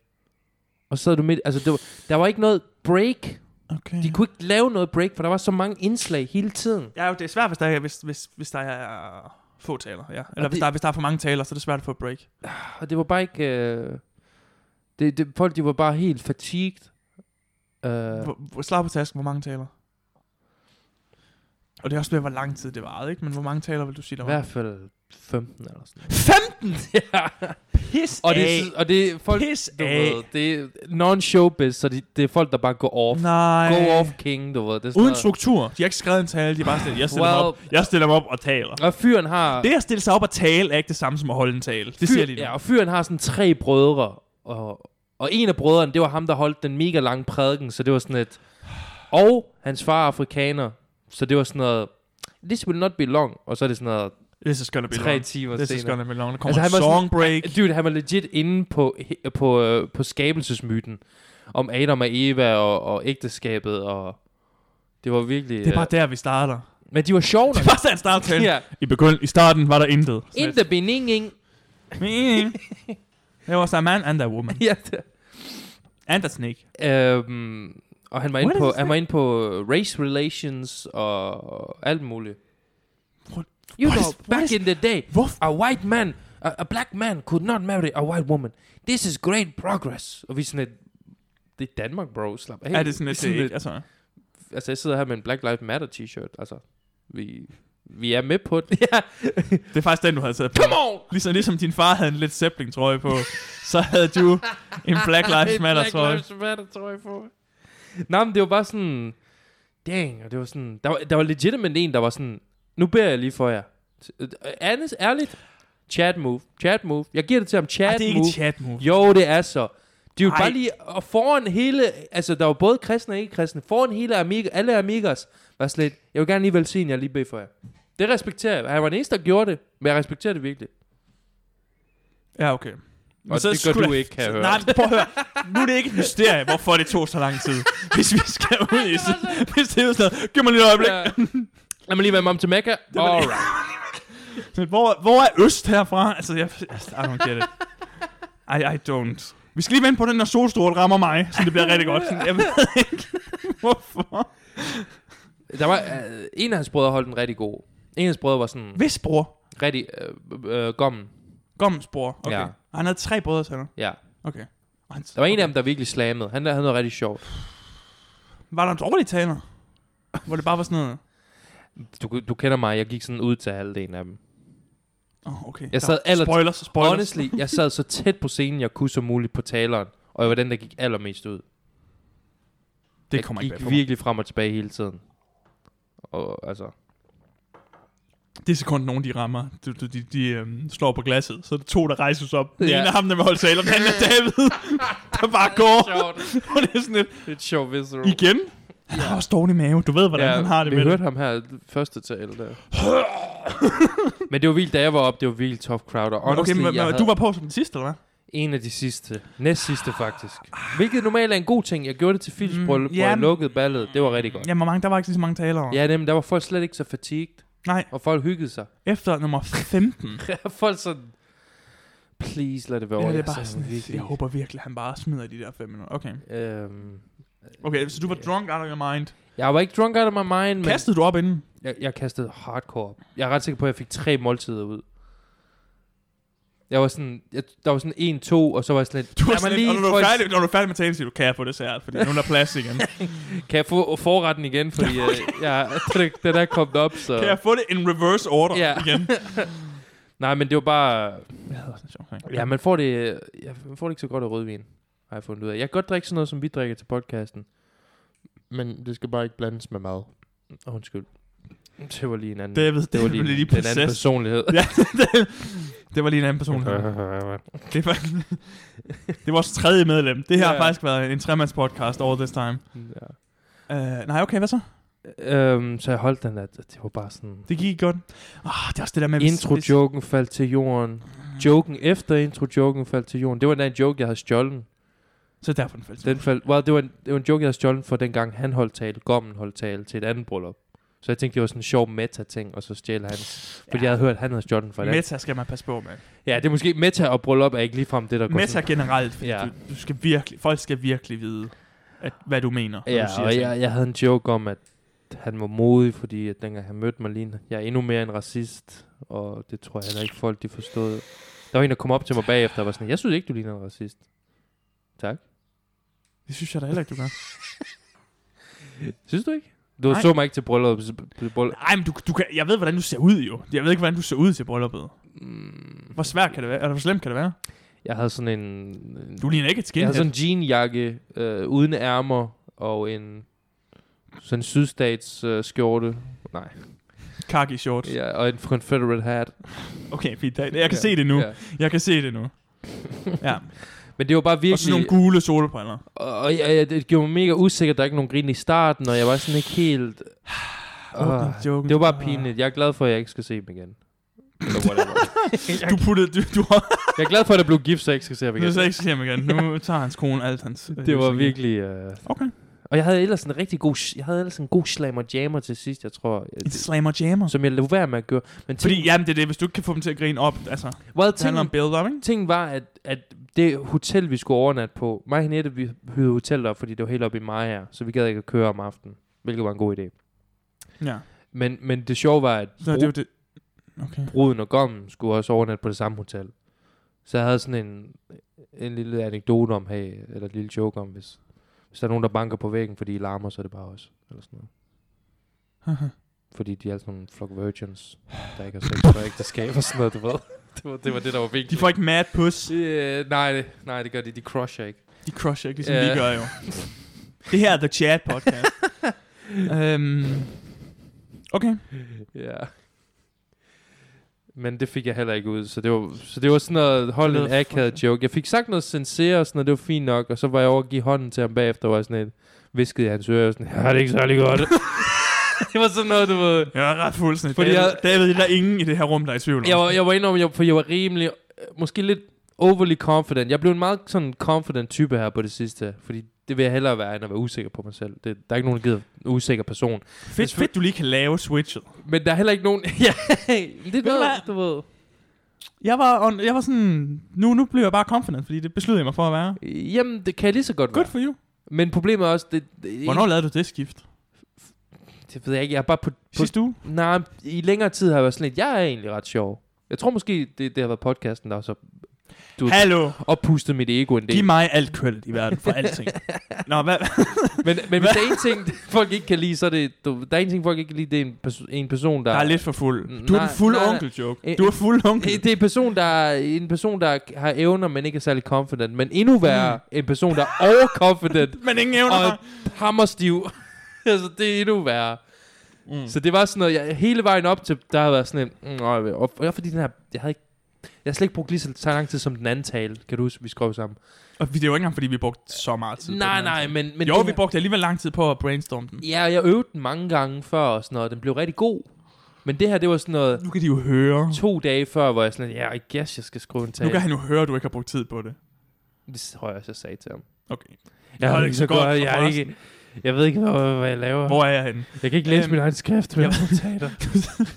A: Og så sad du midt, altså det var, der var ikke noget break.
B: Okay.
A: De kunne ikke lave noget break, for der var så mange indslag hele tiden.
B: Ja, jo, det er svært, hvis der, er, hvis, hvis, hvis der er få taler, ja. Eller
A: Og
B: hvis
A: det-
B: der, er- hvis der er for mange taler, så er det svært at få et break.
A: Og det var bare ikke... Øh, det, det, folk, de var bare helt fatigued. Øh,
B: Hvor- hvor- Slag på tasken, hvor mange taler? Og det er også ved, hvor lang tid det varede, ikke? Men hvor mange taler vil du sige, der
A: I
B: var?
A: hvert fald 15 eller sådan
B: 15!
A: noget.
B: Pis
A: og, det,
B: af.
A: er- og det er folk,
B: Pis
A: du
B: af.
A: ved, det er non-showbiz, så det, det er folk, der bare går off.
B: Nej.
A: Go off king, du ved. Det er sådan
B: Uden
A: noget.
B: struktur. De har ikke skrevet en tale, de har bare stillet, jeg stiller, well, mig op,
A: Well-
B: jeg stiller mig op og taler.
A: Og fyren har...
B: Det at stille sig op og tale, er ikke det samme som at holde en tale. Det siger de nu.
A: ja, og fyren har sådan tre brødre, og, og en af brødrene, det var ham, der holdt den mega lange prædiken, så det var sådan et... Og hans far er afrikaner, så det var sådan noget... This will not be long, og så er det sådan noget
B: This is gonna be
A: tre
B: long.
A: timer
B: This is
A: senere.
B: gonna be long. Der kommer
A: Altså, han
B: altså,
A: var
B: song break.
A: Dude, han var legit inde på, he- på, øh, på skabelsesmyten om Adam og Eva og, og ægteskabet, og det var virkelig...
B: Det er
A: øh,
B: bare der, vi starter.
A: Men de var sjove
B: Det
A: nok.
B: er bare der, han starter talen.
A: Ja,
B: I, begynd- I starten var der intet.
A: in the beginning.
B: Mening. There was a man and a woman.
A: Ja, det-
B: And a snake.
A: øhm, og han var, inde
B: What
A: på,
B: is
A: han var inde på øh, race relations og, og alt muligt.
B: What-
A: you
B: what
A: know,
B: is- what
A: back
B: is-
A: in the day,
B: Hvor?
A: a white man, a, a black man could not marry a white woman. This is great progress. Og vi er sådan et, det er Danmark, bro. Slap af.
B: Er det sådan, at det
A: lidt-
B: ikke, altså,
A: altså jeg sidder her med en Black Lives Matter t-shirt, altså, vi, vi er med på det. ja.
B: det er faktisk den, du havde taget på.
A: Come on!
B: Ligesom, ligesom din far havde en lidt Zeppelin trøje på, så havde du en Black Lives
A: En
B: Matter
A: Black
B: trøje.
A: Lives Matter trøje på. Nå, men det var bare sådan, dang, og det var sådan, der var, der var legitimate en, der var sådan, nu beder jeg lige for jer. Øh, Anders, ærligt, chat move, chat move. Jeg giver det til ham, chat
B: Ej, det er ikke
A: move.
B: et chat move.
A: Jo, det er så. Det er jo
B: Ej.
A: bare lige, og foran hele, altså der var både kristne og ikke kristne, foran hele amiga, alle amigas, var slet, jeg vil gerne lige velsigne jer lige bede for jer. Det respekterer jeg. Han var den eneste, der gjorde det, men jeg respekterer det virkelig.
B: Ja, okay. Men
A: Og det gør
B: skulle
A: du
B: jeg-
A: ikke, kan jeg høre.
B: Nej, prøv at høre. Nu er det ikke et mysterie, hvorfor det tog så lang tid. Hvis vi skal ud i sådan, hvis det er sådan noget, giv mig lige et øjeblik.
A: Ja. Lad mig lige være med om til Mekka.
B: var det.
A: Alright.
B: Men Hvor, hvor er øst herfra? Altså, jeg, altså, I don't get it. I, I don't. Vi skal lige vente på den, når solstrål rammer mig, så det bliver rigtig godt. Sådan, jeg ved ikke, hvorfor.
A: Der var, øh, en af hans brødre holdt en rigtig god. En af hans brødre var sådan
B: Hvis bror?
A: rigtig øh, øh, gommen.
B: Gommens bror. Okay. Ja.
A: Ja.
B: Han havde tre brødre til ham.
A: Ja.
B: Okay. Og Han,
A: Der var en af dem, der virkelig slammede. Han havde noget rigtig sjovt.
B: Var der en dårlig taler? Hvor det bare var sådan noget...
A: Du, du kender mig, jeg gik sådan ud til halvdelen af dem.
B: Oh, okay.
A: Jeg sad aller-
B: Spoilers, spoilers.
A: Honestly, jeg sad så tæt på scenen, jeg kunne som muligt på taleren, og jeg var den, der gik allermest ud.
B: det kommer
A: jeg
B: ikke
A: gik
B: bag på mig.
A: virkelig frem og tilbage hele tiden. Og altså,
B: Det er sekund nogen, de rammer. De, de, de, de øhm, slår på glasset, så er det to, der rejses op. Den
A: Ja.
B: ene er ham, der vil holde taler, den anden er David, der bare går.
A: sjovt.
B: Og det er sådan et,
A: Det er sjovt, visceral.
B: Igen? Han har også dårlig mave. Du ved, hvordan ja, han har det
A: vi
B: med
A: hørte
B: det.
A: ham her første tale der. men det var vildt, da jeg var op, det var vildt tough crowd. Og honestly,
B: Okay, men,
A: jeg
B: men,
A: havde
B: du var på som den sidste, eller hvad?
A: en af de sidste. Næst sidste, faktisk. Hvilket normalt er en god ting. Jeg gjorde det til Philips
B: Mm,
A: mm, bryllup, hvor
B: ja,
A: jeg
B: men-
A: lukkede ballet. Det var rigtig godt.
B: Jamen, hvor mange, der var ikke lige så mange talere.
A: Ja, nemlig, der var folk slet ikke så fatigt,
B: Nej,
A: og folk hyggede sig.
B: efter nummer 15. ja,
A: folk sådan, please lad det være over. Altså,
B: det er
A: Jeg
B: bare
A: sad
B: sådan, virkelig. jeg håber virkelig, at han bare smider de der fem minutter. Okay,
A: Øhm,
B: okay så du var
A: Ja.
B: drunk out of your mind.
A: jeg var ikke drunk out of my mind, men
B: Kastede du op inden?
A: jeg, jeg kastede hardcore. op. Jeg er ret sikker på, at jeg fik tre måltider ud. Jeg var sådan, jeg, der var sådan en, to, og så var jeg sådan lidt,
B: Du var
A: "Lad mig
B: sådan, lige, og når, du
A: få
B: er
A: et-
B: færdig, når du er færdig med talen, siger du, kan jeg få dessert? Fordi nu er der plads igen.
A: kan jeg få forretten igen, fordi øh, jeg, den er kommet op, så...
B: kan jeg få det in reverse order
A: Ja.
B: igen?
A: Nej, men det var bare...
B: Ja, det er sjovt, ikke?
A: Ja, man får det, ja, man får det ikke så godt af rødvin, har jeg fundet ud af. Jeg kan godt drikke sådan noget, som vi drikker til podcasten. Men det skal bare ikke blandes med mad. Åh, Undskyld. Det var lige en anden,
B: David,
A: det var lige, en
B: lige
A: anden
B: proces.
A: personlighed.
B: Ja, det, Det var lige en anden person. her. Det var, det var vores tredje medlem. Det her
A: Ja.
B: har faktisk været en tremandspodcast all this time.
A: ja.
B: Uh, nej, okay, hvad så?
A: Øhm, så jeg holdt den, at det var bare sådan...
B: Det gik godt. Ah, det er også det der med... hvis- hvis-
A: Intro-joken faldt til jorden. Joken efter intro-joken faldt til jorden. Det var den joke, jeg havde stjålet.
B: Så derfor den faldt.
A: Den faldt, well, det, var en, det var en joke, jeg havde stjålet for dengang han holdt tale, Gommen holdt tale til et andet bryllup. Så jeg tænkte, det var sådan en sjov meta-ting, og så stjæl han. Fordi
B: Ja.
A: ja. jeg havde hørt, at han havde stjålet den fra et andet.
B: Meta skal man passe på med.
A: Ja, det er måske meta og bryllup er ikke ligefrem det, der går
B: Meta
A: sådan-
B: generelt, fordi
A: Ja.
B: ja. du, du, skal virkelig, folk skal virkelig vide, at, hvad du mener. når du
A: Ja,
B: siger
A: og
B: ting.
A: jeg, jeg havde en joke om, at han var modig, fordi at dengang han mødte mig lige, jeg er endnu mere en racist, og det tror jeg heller ikke folk, de forstod. Der var en, der kom op til mig bagefter og var sådan, jeg synes ikke, du ligner en racist. Tak.
B: Det synes jeg da heller ikke, du gør.
A: Synes du ikke? Du
B: Nej.
A: så mig ikke til bryllup. s- b- bryllup.
B: Nej, men du, du kan, jeg ved, hvordan du ser ud jo. Jeg ved ikke, hvordan du ser ud til brylluppet.
A: Mm,
B: Hvor svært kan det være? Eller hvor slemt kan det være?
A: Jeg havde sådan en... en
B: Du ligner ikke et
A: jeg
B: skinhead.
A: havde sådan en jeanjakke øh, uden ærmer og en sådan en sydstats øh, skjorte. Nej.
B: Khaki shorts.
A: Ja, og en Confederate hat.
B: Okay, fint. Jeg jeg kan
A: Ja,
B: se det nu.
A: Ja.
B: Jeg kan se det nu. Ja.
A: Men det var bare virkelig...
B: Og sådan nogle gule solbriller.
A: Og og jeg, jeg, det gjorde mig mega usikker, at der ikke nogen grin i starten, og jeg var sådan ikke helt...
B: Åbn
A: Åh,
B: joken.
A: det var bare pinligt. Jeg er glad for, at jeg ikke skal se dem igen. Eller whatever.
B: Du puttede... Du, du har...
A: jeg er glad for, at der blev gift, så jeg ikke skal se ham
B: Nu er
A: igen.
B: jeg ikke se ham igen. Nu tager hans kone alt hans... øh,
A: Det var
B: livsvilje.
A: virkelig... Øh...
B: Okay.
A: Og jeg havde ellers en rigtig god... sh- Jeg havde ellers en god slammer jammer til sidst, jeg tror. Jeg,
B: En
A: det,
B: slammer jammer.
A: som jeg lå være med at gøre. Men ting,
B: Fordi, jamen, det er det. Hvis du ikke kan få dem til at grine op, altså...
A: well,
B: Det handler
A: ting,
B: om build-up, ikke?
A: ting var, at, at det hotel, vi skulle overnatte på... Mig og Henriette, vi hyrede hotel op, fordi det var helt oppe i Maja, så vi gad ikke at køre om aftenen, hvilket var en god idé.
B: Ja.
A: Men, men det sjove var, at
B: Så det er jo det... Okay.
A: bruden og gommen skulle også overnatte på det samme hotel. Så jeg havde sådan en, en lille anekdote om, hey, eller en lille joke om, hvis, hvis der er nogen, der banker på væggen, fordi I larmer, så er det bare os. Eller sådan noget. Fordi de er alle sådan nogle flock virgins, der ikke har sex for ægteskab og sådan noget, du ved. Det var det, var det der var vigtigt.
B: De får ikke mad puss.
A: Øh, nej, det- nej, det gør de. De crusher ikke.
B: De crusher ikke, ligesom
A: Ja.
B: vi gør jo. Det her er The Chat podcast. øhm, okay.
A: Ja. Men det fik jeg heller ikke ud, så det var, så det var sådan noget, hold
B: Det
A: en
B: lyder
A: akavet joke. Jeg fik sagt noget sincere og sådan noget, det var fint nok, og så var jeg over og give hånden til ham bagefter, og var sådan et, viskede jeg i hans øre, og sådan, ja, det er ikke særlig godt. det var sådan noget, du ved.
B: Jeg er ret fuldstændig.
A: Fordi
B: Fordi David,
A: jeg-
B: David, der er ingen i det her rum, der er i tvivl om.
A: Jeg var, jeg var inde om, jeg, for jeg var rimelig, øh, måske lidt overly confident. Jeg blev en meget sådan confident type her på det sidste, fordi det vil jeg hellere være, end at være usikker på mig selv. Det, der er ikke nogen, der gider en usikker person.
B: fedt, fedt, du lige kan lave switchet.
A: Men der er heller ikke nogen... ja, det er noget,
B: hvad?
A: du ved.
B: Jeg var, on, jeg var sådan, nu, nu blev jeg bare confident, fordi det besluttede jeg mig for at være.
A: Jamen, det kan jeg lige så godt være.
B: Good for you.
A: Men problemet er også, det, det,
B: Hvornår lavede du det skift?
A: det ved jeg ikke, jeg er bare på, på
B: Sidste uge?
A: nej, i længere tid har jeg været sådan lidt, jeg er egentlig ret sjov. Jeg tror måske, det, det har været podcasten, der også har du-
B: Hallo,
A: oppustet mit ego en
B: giv
A: del.
B: mig alt credit i verden for alting. Nå, hvad?
A: Men, men hvis der er en ting, folk ikke kan lide, så er det, du, der er en ting, folk ikke kan lide, det er en, perso- en person, der... Mm,
B: Der er lidt for fuld. Du er
A: Nej,
B: den fulde
A: nej, nej.
B: onkel-joke.
A: Øh,
B: Du er fuld onkel.
A: Det det er en person, der, en person, der har evner, men ikke er særlig confident. Men endnu værre,
B: Mm.
A: en person, der er overconfident,
B: Men ingen evner
A: og
B: mig.
A: hammerstiv. altså, det er endnu værre. Mm. Så det var sådan noget, jeg, hele vejen op til, der har været sådan en, mm, og, og, og, fordi den her, jeg havde ikke, jeg har slet ikke brugt lige så, så lang tid som den anden tale, kan du huske, vi skrev sammen.
B: Og det var ikke engang, fordi vi brugte så meget tid. på
A: Nej,
B: den her
A: nej,
B: ting.
A: men... men
B: Jo,
A: det
B: vi
A: her-
B: brugte alligevel lang tid på at brainstorme den.
A: Ja, jeg øvede den mange gange før og sådan noget, den blev rigtig god. Men det her, det var sådan noget
B: Nu kan de jo høre.
A: to dage før, hvor jeg sådan, ja, yeah, I guess, jeg skal skrive en
B: Nu
A: tale.
B: kan han jo høre, at du ikke har brugt tid på det.
A: Det tror jeg også, jeg sagde til ham.
B: Okay.
A: Jeg
B: har
A: har
B: det
A: ikke så godt, jeg, er ikke, jeg ved ikke, hvad, hvad jeg laver.
B: Hvor er jeg henne?
A: Jeg kan ikke læse
B: Øhm,
A: min egen skrift, men jeg
B: jeg-
A: er på teater.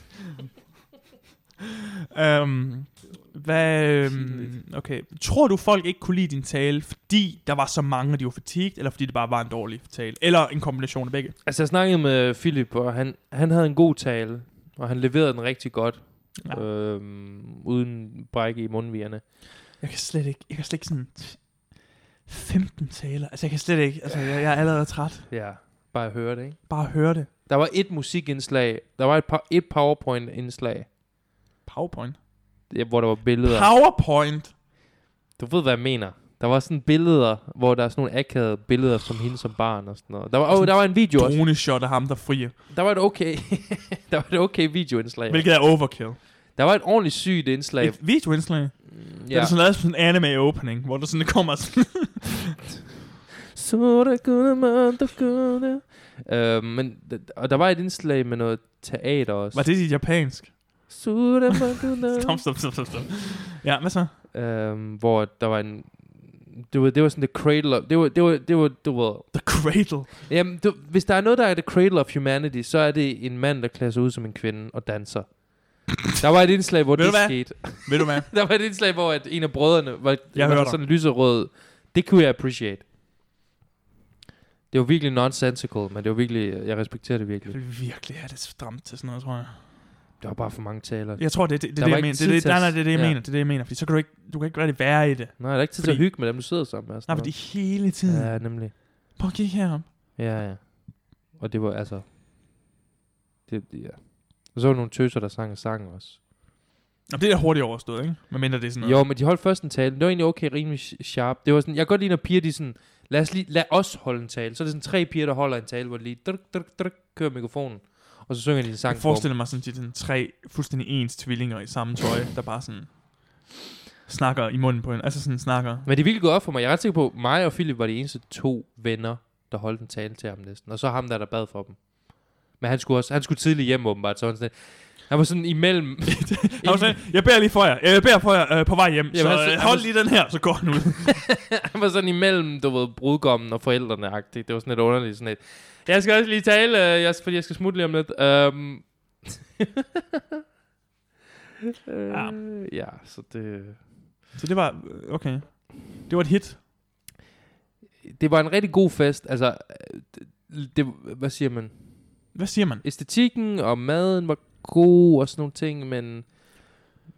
B: Øhm, hvad, øhm, okay. Tror du, folk ikke kunne lide din tale, fordi der var så mange, og de var fatigued, eller fordi det bare var en dårlig tale? Eller en kombination af begge?
A: Altså, jeg snakkede med Philip, og han, han havde en god tale, og han leverede den rigtig godt.
B: Ja.
A: Ja. Øhm, uden bræk i mundvigerne.
B: Jeg kan slet ikke, jeg kan slet ikke sådan 15 taler. Altså, jeg kan slet ikke, altså, jeg, jeg er allerede træt.
A: Ja, bare at høre det, ikke?
B: Bare at høre det.
A: Der var et musikindslag, der var et, pa- et powerpoint-indslag,
B: PowerPoint.
A: ja, hvor der var billeder.
B: PowerPoint.
A: du ved, hvad jeg mener. Der var sådan billeder, hvor der er sådan nogle akavede billeder som hende som barn og sådan noget. Der var, oh, der var en video også.
B: Drone shot af ham, der frier.
A: Der var et okay, der var et okay videoindslag.
B: Hvilket er overkill.
A: Der var et ordentligt sygt indslag.
B: Et videoindslag. Ja. Det
A: ja.
B: er sådan lavet som en anime opening, hvor der sådan det kommer sådan...
A: Sorte gulde, mørte gulde. Øh, men, og der var et indslag med noget teater også.
B: Var det i japansk?
A: Sorte mørte
B: Stop, stop, stop, stop, stop. Ja, hvad så?
A: øhm, hvor der var en... Det var, det var sådan the cradle of... Det var, det var, det var, det var
B: The Cradle.
A: jamen, du, hvis der er noget, der er the cradle of humanity, så er det en mand, der klæder sig ud som en kvinde og danser. Der var et indslag, hvor
B: Ved
A: det
B: du hvad?
A: skete.
B: Ved du hvad?
A: Der var et indslag, hvor at en af brødrene var,
B: Jeg hører
A: var
B: dig.
A: sådan lyserød. Det kunne jeg appreciate. Det var virkelig nonsensical, men det var virkelig... Jeg respekterer det
B: Jeg
A: virkelig.
B: vil virkelig have det stramt til sådan noget, tror jeg.
A: Der var bare for mange taler.
B: Jeg tror, det er det, det,
A: Der
B: det
A: var ikke
B: jeg mener. Det,
A: tid
B: er det,
A: til
B: nej,
A: at-
B: nej, det er det, jeg
A: ja.
B: mener. Det er det, jeg mener. Fordi så kan du ikke, du kan ikke rigtig være i det.
A: Nej, der er ikke tid til at
B: Fordi-
A: hygge med dem, du sidder sammen med. og
B: Nej,
A: sådan
B: fordi hele tiden.
A: noget. Ja, nemlig.
B: Prøv at kigge herom.
A: Ja, ja. Og det var altså... Det, ja. Og så var der nogle tøser, der sang og sang også.
B: Nå, det er hurtigt overstået, ikke? Men mindre det er sådan noget.
A: Jo, men de holdt først en tale. Det var egentlig okay, rimelig sh- sharp. Det var sådan, jeg kan godt lide, når piger, de sådan, lad os, lige, lad os holde en tale. Så er det sådan tre piger, der holder en tale, hvor de lige druk, druk, druk, kører mikrofonen. Og så synger de en sang.
B: Jeg forestiller mig sådan, de er sådan tre fuldstændig ens tvillinger i samme tøj, der bare sådan snakker i munden på en. Altså sådan snakker.
A: Men det er virkelig gået op for mig. Jeg er ret sikker på, at mig og Philip var de eneste to venner, der holdt en tale til ham næsten. Og så ham der, der bad for dem. Men han skulle, også, han skulle tidligt hjem åbenbart. Så var han, sådan, lidt- han var sådan imellem.
B: Jeg, sådan, jeg beder lige for jer. Jeg beder for jer øh, på vej hjem.
A: Jamen,
B: så
A: han-
B: øh,
A: han-
B: hold lige den her, så går han ud.
A: Han var sådan imellem, du ved, brudgommen og forældrene -agtigt. Det var sådan lidt underligt. Sådan et. Jeg skal også lige tale, øh, jeg, fordi jeg skal smutte lige om lidt. Um,
B: Ja.
A: øh, ja, så det...
B: Så det var, øh, okay. Det var et hit.
A: Det var en rigtig god fest. Altså, øh, det, det, hvad siger man?
B: Hvad siger man?
A: Æstetikken og maden var god og sådan nogle ting, men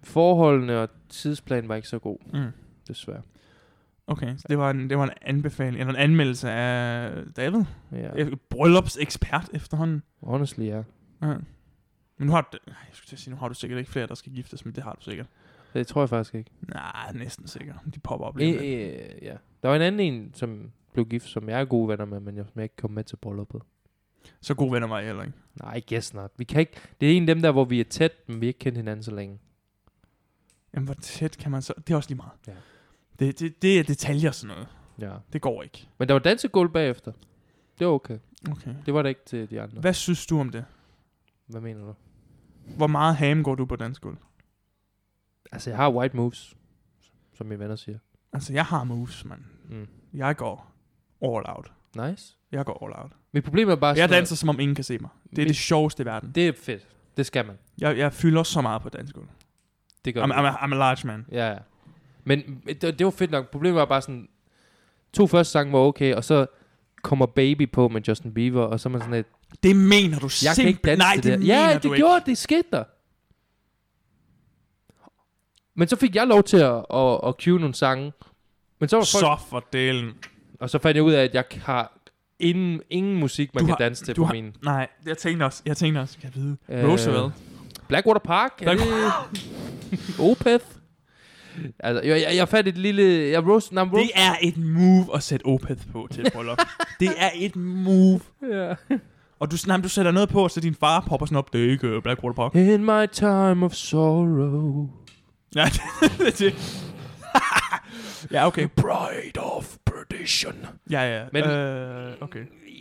A: forholdene og tidsplanen var ikke så god,
B: Mm.
A: desværre.
B: Okay, så det var, en, det var en anbefaling, eller en anmeldelse af David.
A: Ja,
B: Ja. Bryllupsekspert efterhånden.
A: honestly, ja.
B: Ja. Men nu har du, Ej, jeg skulle til at sige, nu har du sikkert ikke flere, der skal giftes, men det har du sikkert.
A: Det tror jeg faktisk ikke.
B: Nej, næsten sikkert. De popper op lige.
A: Øh,
B: lidt.
A: øh, ja. Der var en anden en, som blev gift, som jeg er gode venner med, men jeg, som jeg ikke kom med til brylluppet. e-
B: Så gode venner var jeg heller ikke.
A: Nej, I guess not. Vi kan ikke, det er en af dem der, hvor vi er tæt, men vi har ikke kendt hinanden så længe.
B: Jamen, hvor tæt kan man så... Det er også lige meget.
A: Ja.
B: Det, det, det er detaljer sådan noget.
A: Ja.
B: Det går ikke.
A: Men der var dansegulv bagefter. Det var okay.
B: Okay.
A: Det var der ikke til de andre.
B: Hvad synes du om det?
A: Hvad mener du?
B: Hvor meget ham går du på dansk gulv?
A: Altså, jeg har white moves, som mine venner siger.
B: Altså, jeg har moves, mand.
A: Mm.
B: Jeg går all out.
A: Nice.
B: Jeg går all out.
A: Mit problem er bare...
B: Jeg
A: sådan
B: danser, som om ingen kan se mig. Det er
A: Mit-
B: det sjoveste i verden.
A: noget- Det er fedt. Det skal man.
B: Jeg, jeg fylder så meget på dansk gulv.
A: Det gør
B: I'm,
A: man.
B: I'm, a, I'm a large man.
A: Ja, ja. Men men det, det var fedt nok. Problemet var bare sådan, to første sange var okay, og så kommer Baby på med Justin Bieber, og så er man sådan lidt,
B: Det mener du
A: jeg kan ikke
B: simpelthen.
A: danse
B: Nej,
A: til
B: det,
A: det her.
B: mener
A: Ja, det
B: du
A: gjorde det, skete der. Men så fik jeg lov til at, at, at cue nogle sange, men så var
B: ikke.
A: folk,
B: Så for delen.
A: og så fandt jeg ud af, at jeg har ingen, ingen musik, man
B: Du
A: kan
B: har-
A: danse til
B: du
A: på
B: har-
A: min.
B: Nej, jeg tænkte også. Jeg tænkte også, kan jeg vide.
A: Øh,
B: Roosevelt.
A: Blackwater Park? Er
B: Black-
A: det... Opeth? Altså, jeg, jeg, jeg fandt et lille... Jeg roast, nej,
B: Det er et move at sætte Opeth på til et bryllup. det er et move.
A: Ja.
B: Og du, nej, men du sætter noget på, så din far popper sådan op. Det er ikke øh, Blackwater Park.
A: In my time of sorrow.
B: Nej, det er det. ja, okay.
A: Pride of perdition.
B: Ja, ja.
A: Men-
B: øh, okay.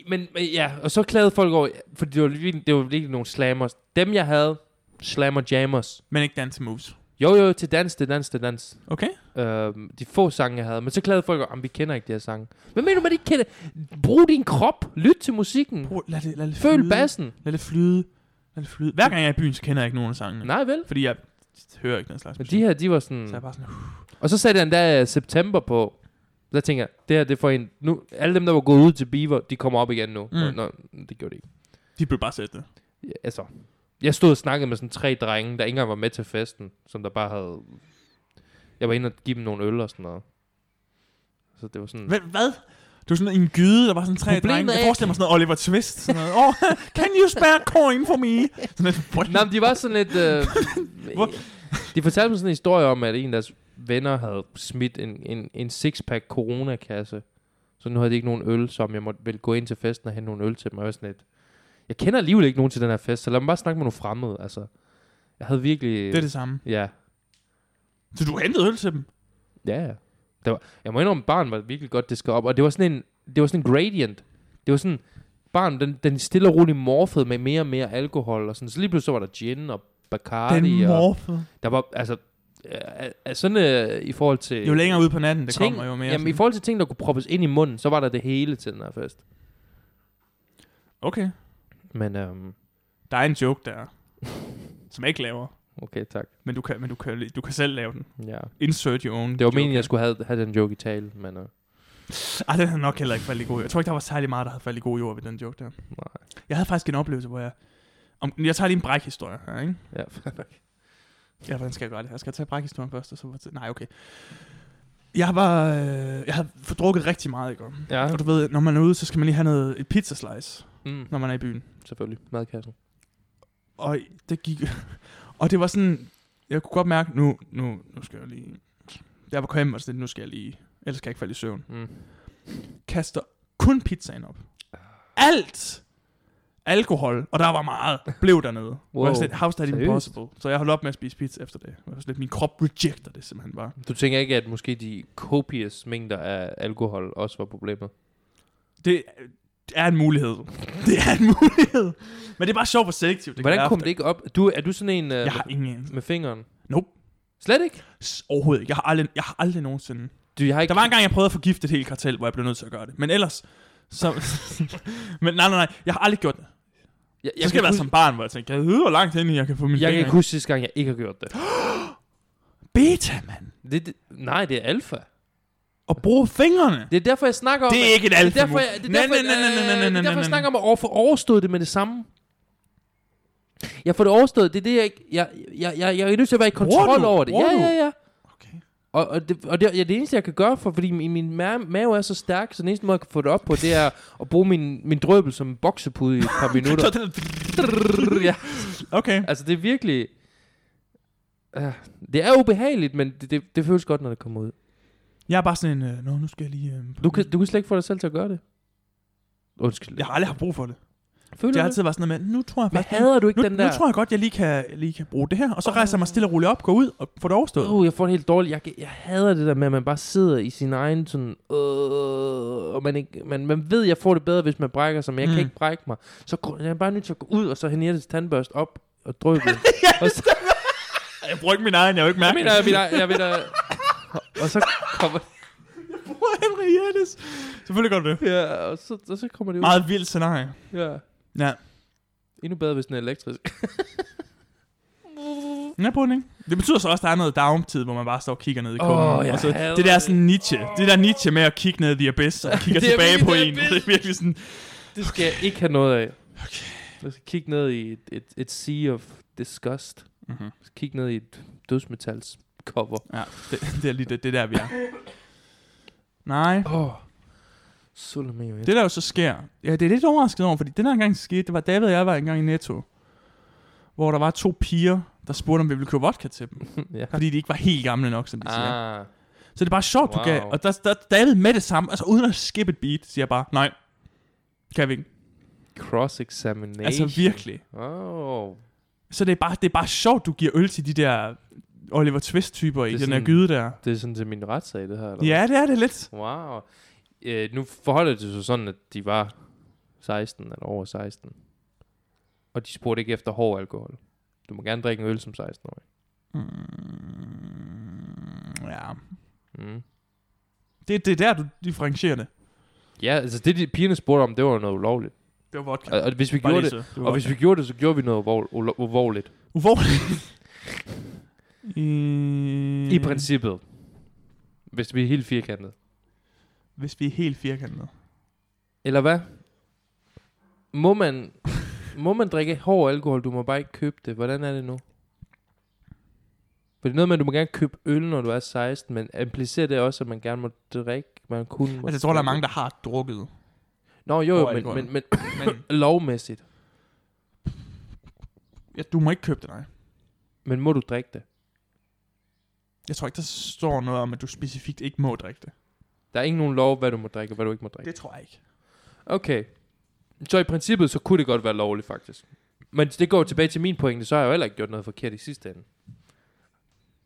A: Men, men ja, og så klagede folk over, for det var, virkelig- det var virkelig nogle slammers. Dem jeg havde, slammer jammers.
B: Men ikke dance moves.
A: Jo jo, til dans, til dans, til dans.
B: Okay.
A: Øhm, de få sange jeg havde. Men så klagede folk over, "Jamen, vi kender ikke de her sange. Hvad mener du med, at de ikke kender? Brug din krop, lyt til musikken,
B: Prøv, lad det, lad det flyde.
A: føl bassen.
B: Lad det flyde. Lad det flyde. Hver gang jeg er i byen, så kender jeg ikke nogen af sangene.
A: Nej vel?
B: Fordi jeg hører ikke den slags
A: Men
B: musik.
A: de her, de var
B: Så jeg er
A: sådan...
B: bare sådan, uh,
A: Og så satte jeg endda øh, september på. Så jeg tænker, det her, det får en... Nu, alle dem, der var gået ud til Beaver, de kommer op igen nu.
B: Mm.
A: Mm. Nå, nå, det gjorde de ikke.
B: de blev bare sætte det.
A: Ja, altså, jeg stod og snakkede med sådan tre drenge, der ikke engang var med til festen, som der bare havde... Jeg var inde og give dem nogle øl og sådan noget. Så det var sådan...
B: Hvad? hvad? Det var sådan en gyde, der var sådan tre
A: Problemet
B: drenge.
A: er,
B: Jeg
A: jeg
B: forestiller mig sådan noget Oliver Twist. Sådan noget. Oh, can you spare coin for me? Sådan et, what?
A: Nej, men de var sådan lidt... Øh,
B: Hvor-
A: de fortalte mig sådan en historie om, at en af deres venner havde smidt en, en, en sixpack coronakasse. Så nu havde de ikke nogen øl, som jeg måtte vel gå ind til festen og hente nogle øl til dem. Og jeg var sådan lidt, jeg kender alligevel ikke nogen til den her fest, så lad mig bare snakke med nogle fremmede. Altså. Jeg havde virkelig...
B: Det er det samme.
A: Ja,
B: Så du hentede øl til dem?
A: ja, ja. Det var, jeg må indrømme, barn var virkelig godt disket op, og det var sådan en, det var sådan en gradient. Det var sådan, barn, den, den stille og roligt morfede med mere og mere alkohol, og sådan, så lige pludselig så var der gin og Bacardi,
B: Den
A: og
B: morfede.
A: der var, altså, øh, øh, sådan øh, i forhold til...
B: Jo længere ud på natten, det
A: ting,
B: kommer jo mere.
A: Jamen, i
B: sådan.
A: forhold til ting, der kunne proppes ind i munden, så var der det hele til den her fest.
B: Okay.
A: Men, øhm,
B: Der er en joke der, som jeg ikke laver.
A: okay, tak.
B: Men du kan, men du kan, du kan selv lave den.
A: Ja.
B: Insert your own
A: Det var
B: joke.
A: meningen, jeg skulle have, have den joke i tale, men... Øh,
B: Ej, den havde nok heller ikke faldet i god jord. Jeg tror ikke, der var særlig meget, der havde faldet i god jord ved den joke der.
A: nej.
B: Jeg havde faktisk en oplevelse, hvor jeg... Om, jeg tager lige en brækhistorie her, ikke?
A: Ja, fair nok.
B: Ja, hvordan skal jeg gøre det? Jeg skal tage brækhistorien først, og så... Nej, okay. Jeg var... Øh, jeg havde fordrukket rigtig meget i går.
A: ja.
B: Og du ved, når man er ude, så skal man lige have noget, et pizza slice,
A: Mm,
B: når man er i byen.
A: selvfølgelig. Madkassen.
B: Og det gik... Og det var sådan... Jeg kunne godt mærke, nu, nu, nu skal jeg lige... Jeg var kommet hjem, og sådan, nu skal jeg lige... Ellers kan jeg ikke falde i søvn.
A: Mm.
B: Kaster kun pizzaen op. Alt! Alkohol, og der var meget, blev dernede. Wow. Hvor
A: Wow.
B: jeg sådan, How's that
A: Seriøst?
B: impossible? Så jeg holdt op med at spise pizza efter det. Hvor jeg sådan, min krop rejecter det simpelthen bare.
A: Du tænker ikke, at måske de kopiøse mængder af alkohol også var problemet?
B: Det er en mulighed. Det er en mulighed. Men det er bare sjovt, hvor selektivt det
A: Hvordan
B: kan
A: kom
B: være.
A: det ikke op? Du, er du sådan en øh,
B: Jeg
A: med,
B: har ingen anelse.
A: med fingeren?
B: Nope.
A: Slet ikke?
B: S- Overhovedet ikke. Jeg har aldrig, jeg har aldrig nogensinde...
A: Du, jeg har ikke...
B: Der var en gang, jeg prøvede at forgifte et helt kartel, hvor jeg blev nødt til at gøre det. Men ellers... Så, men nej, nej, nej. Jeg har aldrig gjort det.
A: jeg,
B: Jeg så skal
A: kan
B: jeg være
A: huske,
B: som barn, hvor jeg tænkte, jeg ved, hvor langt ind jeg kan få min
A: Jeg kan
B: finger.
A: ikke huske sidste gang, jeg ikke har gjort det.
B: Beta, mand.
A: det, det nej, det er alfa.
B: Og bruge fingrene.
A: Det er derfor, jeg snakker om...
B: Det er
A: at-
B: ikke et
A: Det er
B: alfa
A: derfor, jeg, det er derfor, jeg- øh, det er derfor, jeg snakker om at overfor, overstå det med det samme. Jeg får det overstået. Det er det, jeg ikke... Jeg, jeg, jeg, jeg er nødt til at være i
B: Bruger
A: kontrol
B: du?
A: over det.
B: Bruger
A: Ja,
B: du?
A: ja, ja.
B: Okay.
A: Og, og, det, og det, ja, det eneste, jeg kan gøre, for, fordi min, min ma- mave er så stærk, så den eneste måde, jeg kan få det op på, det er at bruge min, min drøbel som en boksepude i et par minutter.
B: Så den-
A: ja,
B: Okay.
A: altså, det er virkelig... Uh, det er ubehageligt, men det, det, det føles godt, når det kommer ud.
B: Jeg er bare sådan en... Øh, Nå, nu skal jeg lige... Øh, på-
A: Du kan, du kan slet ikke få dig selv til at gøre det. Undskyld.
B: Jeg har aldrig haft brug for det.
A: Føler
B: Det har
A: du det?
B: altid været sådan noget med, nu tror jeg
A: Men
B: faktisk...
A: hader du ikke
B: nu,
A: den der...
B: nu tror jeg godt, jeg lige kan, lige kan bruge det her. Og så rejser jeg mig stille og roligt op, går ud og får det overstået.
A: Åh, oh, jeg får det helt dårligt. Jeg, kan- jeg hader det der med, at man bare sidder i sin egen sådan... Øh, og man, ikke, man, man ved, at jeg får det bedre, hvis man brækker sig, men jeg mm.
B: Mm.
A: kan ikke brække mig. Så går, jeg er bare nødt til at gå ud, og så hænge det tandbørst op og drøbe. den. og så,
B: Jeg bruger ikke min egen, jeg har jo ikke
A: jeg
B: mærket
A: mener, jeg mener, jeg mener, og så kommer,
B: bruger Henriettes. Selvfølgelig gør du det.
A: ja, og så, og så kommer det ud.
B: Meget vildt scenarie.
A: Ja.
B: Ja.
A: Endnu bedre, hvis den er elektrisk.
B: Ja, på den, ikke? Det betyder så også, at der er noget downtid, hvor man bare står og kigger ned i
A: Åh,
B: kummen.
A: jeg
B: og så,
A: hader
B: det der er
A: det.
B: sådan Nietzsche. Det der Nietzsche med at kigge ned i the abyss og kigger
A: Det er
B: tilbage
A: virkelig
B: på
A: the abyss.
B: en. Det er virkelig sådan...
A: Det skal jeg ikke have noget af. Okay. Jeg skal kigge ned i et, et, et sea of disgust.
B: Mm-hmm.
A: Jeg skal kigge ned i et dødsmetals cover.
B: Ja, det, det, er lige det, det er der, vi er. Nej.
A: Åh. Oh. Sulameo. jeg-
B: Det der jo så sker, ja, det er lidt overrasket over, fordi den her gang skete, det var David og jeg var engang i Netto, hvor der var to piger, der spurgte, om vi ville købe vodka til dem,
A: ja.
B: fordi de ikke var helt gamle nok, som de siger.
A: Ah.
B: Så det er bare sjovt, wow.
A: Wow.
B: du gav. Og der, der David med det samme, altså uden at skippe et beat, siger jeg bare, nej, kan vi ikke.
A: Cross-examination.
B: Altså virkelig.
A: Oh.
B: Så det er, bare, det er bare sjovt, du giver øl til de der Oliver Twist-typer i
A: Det er
B: den
A: sådan-
B: her gyde der.
A: Det er sådan til min retssag, det her. Eller?
B: Ja, det er det lidt.
A: hvad? Wow. Øh, nu forholder det sig sådan, at de var 16 eller over 16. Og de spurgte ikke efter hård alkohol. Du må gerne drikke en øl som 16-årig.
B: Mm, ja.
A: Mm.
B: Det, det er der, du differentierer det.
A: Ja, altså det, de pigerne spurgte om, det var noget ulovligt.
B: Det var vodka.
A: Og, og hvis vi
B: Bare
A: gjorde
B: lige
A: det,
B: så. var Mm.
A: og hvis vi gjorde det, så gjorde vi noget uvol- ulo- ulovligt.
B: Uvorligt. I,
A: I princippet. Hvis vi er helt firkantede.
B: Hvis vi er helt firkantede.
A: Eller hvad? Må man, må man drikke hård alkohol? Du må bare ikke købe det. Hvordan er det nu? For det er noget med, at du må gerne købe øl, når du er 16, men implicerer det også, at man gerne må drikke? Man kun må
B: Altså, jeg tror, der er mange, der har drukket.
A: Nå, jo,
B: Hård
A: jo, men,
B: alkohol.
A: men, men
B: Men
A: lovmæssigt.
B: ja, du må ikke købe det, nej.
A: Men må du drikke det?
B: Jeg tror ikke, der står noget om, at du specifikt ikke må drikke det.
A: Der er ikke nogen lov, hvad du må drikke, og hvad du ikke må drikke.
B: Det tror jeg ikke.
A: Okay. Så i princippet, så kunne det godt være lovligt, faktisk. Men det går tilbage til min pointe, så har jeg jo heller ikke gjort noget forkert i sidste ende.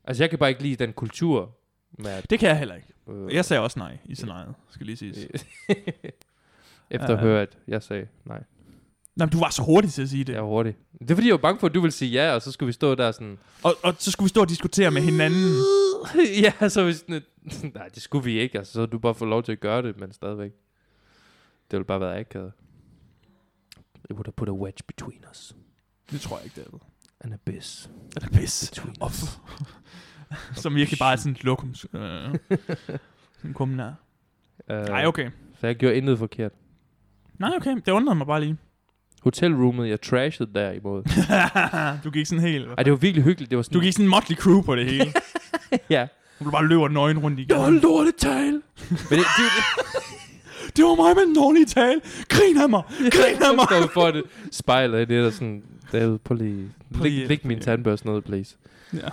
A: Altså, jeg kan bare ikke lide den kultur med at...
B: Det kan jeg heller ikke.
A: Øh,
B: Jeg sagde også nej i scenariet, skal lige siges.
A: efter at
B: Ja.
A: høre, at jeg sagde nej.
B: Nej, men du var så hurtig til at sige det.
A: Jeg er hurtig. Det er fordi, jeg var bange for, at du ville sige ja, og så skulle vi stå der sådan...
B: Og, og så skulle vi stå og diskutere med hinanden.
A: ja, så hvis... Nej, det skulle vi ikke. Altså, så havde du bare fået lov til at gøre det, men stadigvæk. Det ville bare være akavet. It would have put a wedge between us.
B: Det tror jeg ikke, det er.
A: An abyss
B: Eller pis.
A: between
B: Og
A: us.
B: Som virkelig bare er sådan et lokum. Øh, sådan en kumnær.
A: Øh,
B: Nej, okay.
A: Så jeg gjorde intet forkert.
B: Nej, okay. Det undrede mig bare lige.
A: Hotelroomet, jeg trashede derimod.
B: du gik sådan helt...
A: Ej, det var virkelig hyggeligt. Det var sådan...
B: Du gik sådan en motley crew på det hele.
A: Ja.
B: Du bare løber nøgen rundt i
A: Det var en
B: gaden.
A: lortet tale. Men det, det,
B: Det var mig med en dårlig tale. Grin af mig. Grin af mig.
A: Så vi får det spejlet i det, der sådan, David, prøv lige,
B: Prøv lige-
A: læg, læg min tandbørste ned, please.
B: Ja.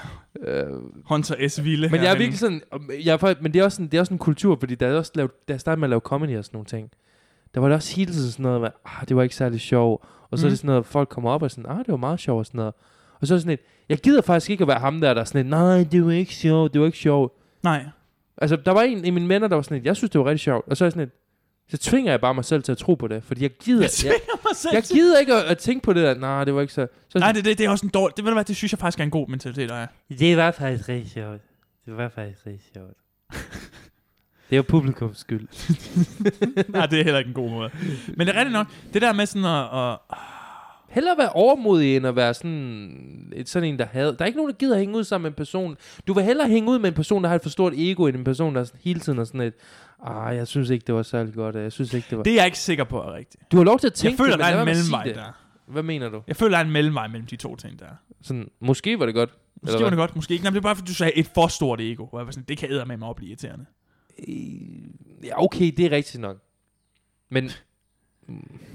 A: Øh,
B: Hunter S. Ville
A: men jeg er
B: herinde.
A: virkelig sådan, jeg er, faktisk- men det er, også sådan, det er også en kultur, fordi da jeg, også lavede, da jeg startede med at lave comedy og sådan nogle ting, der var det også hele tiden sådan noget med, ah, det var ikke særlig sjov. Og så er
B: Mhm.
A: det sådan noget, folk kommer op og sådan, ah, det var meget sjov og sådan noget. Og så er det sådan et, jeg gider faktisk ikke at være ham der, der er sådan et, nej, det var ikke sjovt, det var ikke sjovt.
B: Nej.
A: Altså, der var en af mine venner, der var sådan et, jeg synes, det var rigtig sjovt. Og så er jeg sådan et, så tvinger jeg bare mig selv til at tro på det, fordi jeg gider,
B: Jeg
A: jeg,
B: tvinger mig selv
A: jeg
B: til-
A: gider ikke at, at tænke på det der. Nej, det var ikke så... så
B: Nej, det, det, det er også en dårlig... Det, ved du hvad, det synes jeg faktisk er en god mentalitet, der er.
C: Det var faktisk rigtig sjovt. Det var faktisk rigtig sjovt. det var publikums skyld.
B: Nej, det er heller ikke en god måde. Men det er rigtigt nok. Det der med sådan at... at
A: Hellere være overmodig, end at være sådan, et, sådan en, der havde... Der er ikke nogen, der gider at hænge ud sammen med en person. Du vil hellere hænge ud med en person, der har et for stort ego, end en person, der sådan, hele tiden er sådan et... Ah, jeg synes ikke, det var særlig godt. Jeg synes ikke, det var...
B: det er jeg ikke sikker på er rigtigt.
A: Du har lov til at
B: Jeg
A: tænke
B: føler,
A: det, men
B: der
A: lad være
B: er en
A: med at sige
B: mellemvej
A: det.
B: der.
A: Hvad mener du?
B: Jeg føler, der er en mellemvej mellem de to ting der.
A: Sådan, måske var det godt.
B: Måske var det godt, måske ikke. Nej, men det er bare, fordi du sagde et for stort ego. Hvor jeg var sådan, det kan æder med mig op blive irriterende.
A: Øh, Ja, okay, det er rigtigt nok. Men...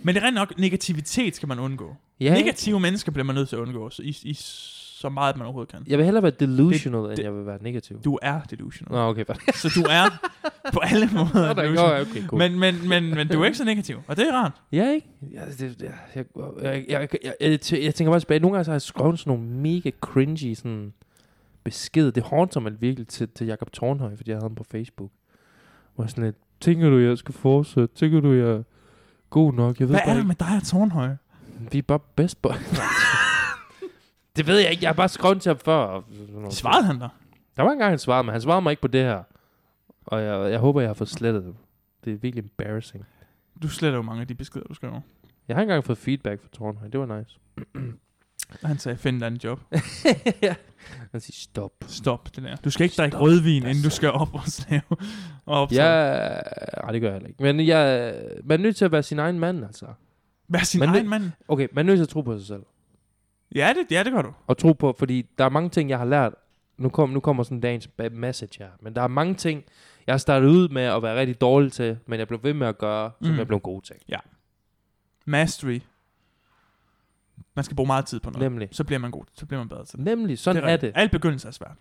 B: Men det er rent nok, negativitet skal man undgå.
A: Ja,
B: Ja. Negative mennesker bliver man nødt til at undgå, så, i, i, så meget man overhovedet kan.
A: jeg vil hellere være delusional, end
B: det-
A: jeg vil være negativ.
B: Du er delusional.
A: Nå, okay. fair.
B: Så du er på alle måder delusional.
A: Nå, okay, cool.
B: Men, men, men, men du er ikke så negativ, og det er rart.
A: Ja, ikke? Ja, det, jeg, jeg, jeg, jeg, jeg, jeg, tæ- jeg tænker bare tilbage. Nogle gange så har jeg skrevet sådan nogle mega cringy sådan beskeder. Det haunter mig virkelig til, til Jakob Tornhøj, fordi jeg havde ham på Facebook. Hvor jeg sådan lidt, tænker du, jeg skal fortsætte? Tænker du, jeg er god nok? Jeg ved
B: Hvad er
A: bare
B: det med dig og Tornhøj?
A: ikke. Vi er bare best boy. det ved jeg ikke. Jeg har bare skrevet til ham før. og sådan noget.
B: Svarede han dig?
A: Der var engang, han svarede mig. Han svarede mig ikke på det her. Og jeg, jeg håber, jeg har fået slettet det. Det er virkelig embarrassing.
B: Du sletter jo mange af de beskeder, du skriver.
A: Jeg har engang fået feedback fra Tornhøj. Det var nice.
B: Og han sagde, find dig en job.
A: ja. Han siger, stop.
B: Stop det der. Du skal ikke drikke
A: Stop.
B: rødvin,
A: Der
B: inden du
A: sagde-
B: skal op og snave. Og optage.
A: Jeg, nej, det gør jeg heller ikke. Men jeg, man er nødt til at være sin egen mand, altså.
B: Vær sin
A: Men det-
B: egen mand.
A: Okay, man er nødt til at tro på sig selv.
B: Ja det, ja, det gør du.
A: Og tro på, fordi der er mange ting, jeg har lært. Nu, kom, nu kommer sådan en dagens ba- message her. Men der er mange ting, jeg har startet ud med at være rigtig dårlig til, men jeg blev ved med at gøre, som
B: Mm.
A: jeg blev god til.
B: Mastery. Man skal bruge meget tid på noget.
A: Nemlig.
B: Så bliver man god. Så bliver man bedre til det.
A: Nemlig, sådan
B: det
A: er
B: rigtigt.
A: det.
B: Alt begyndelse er svært.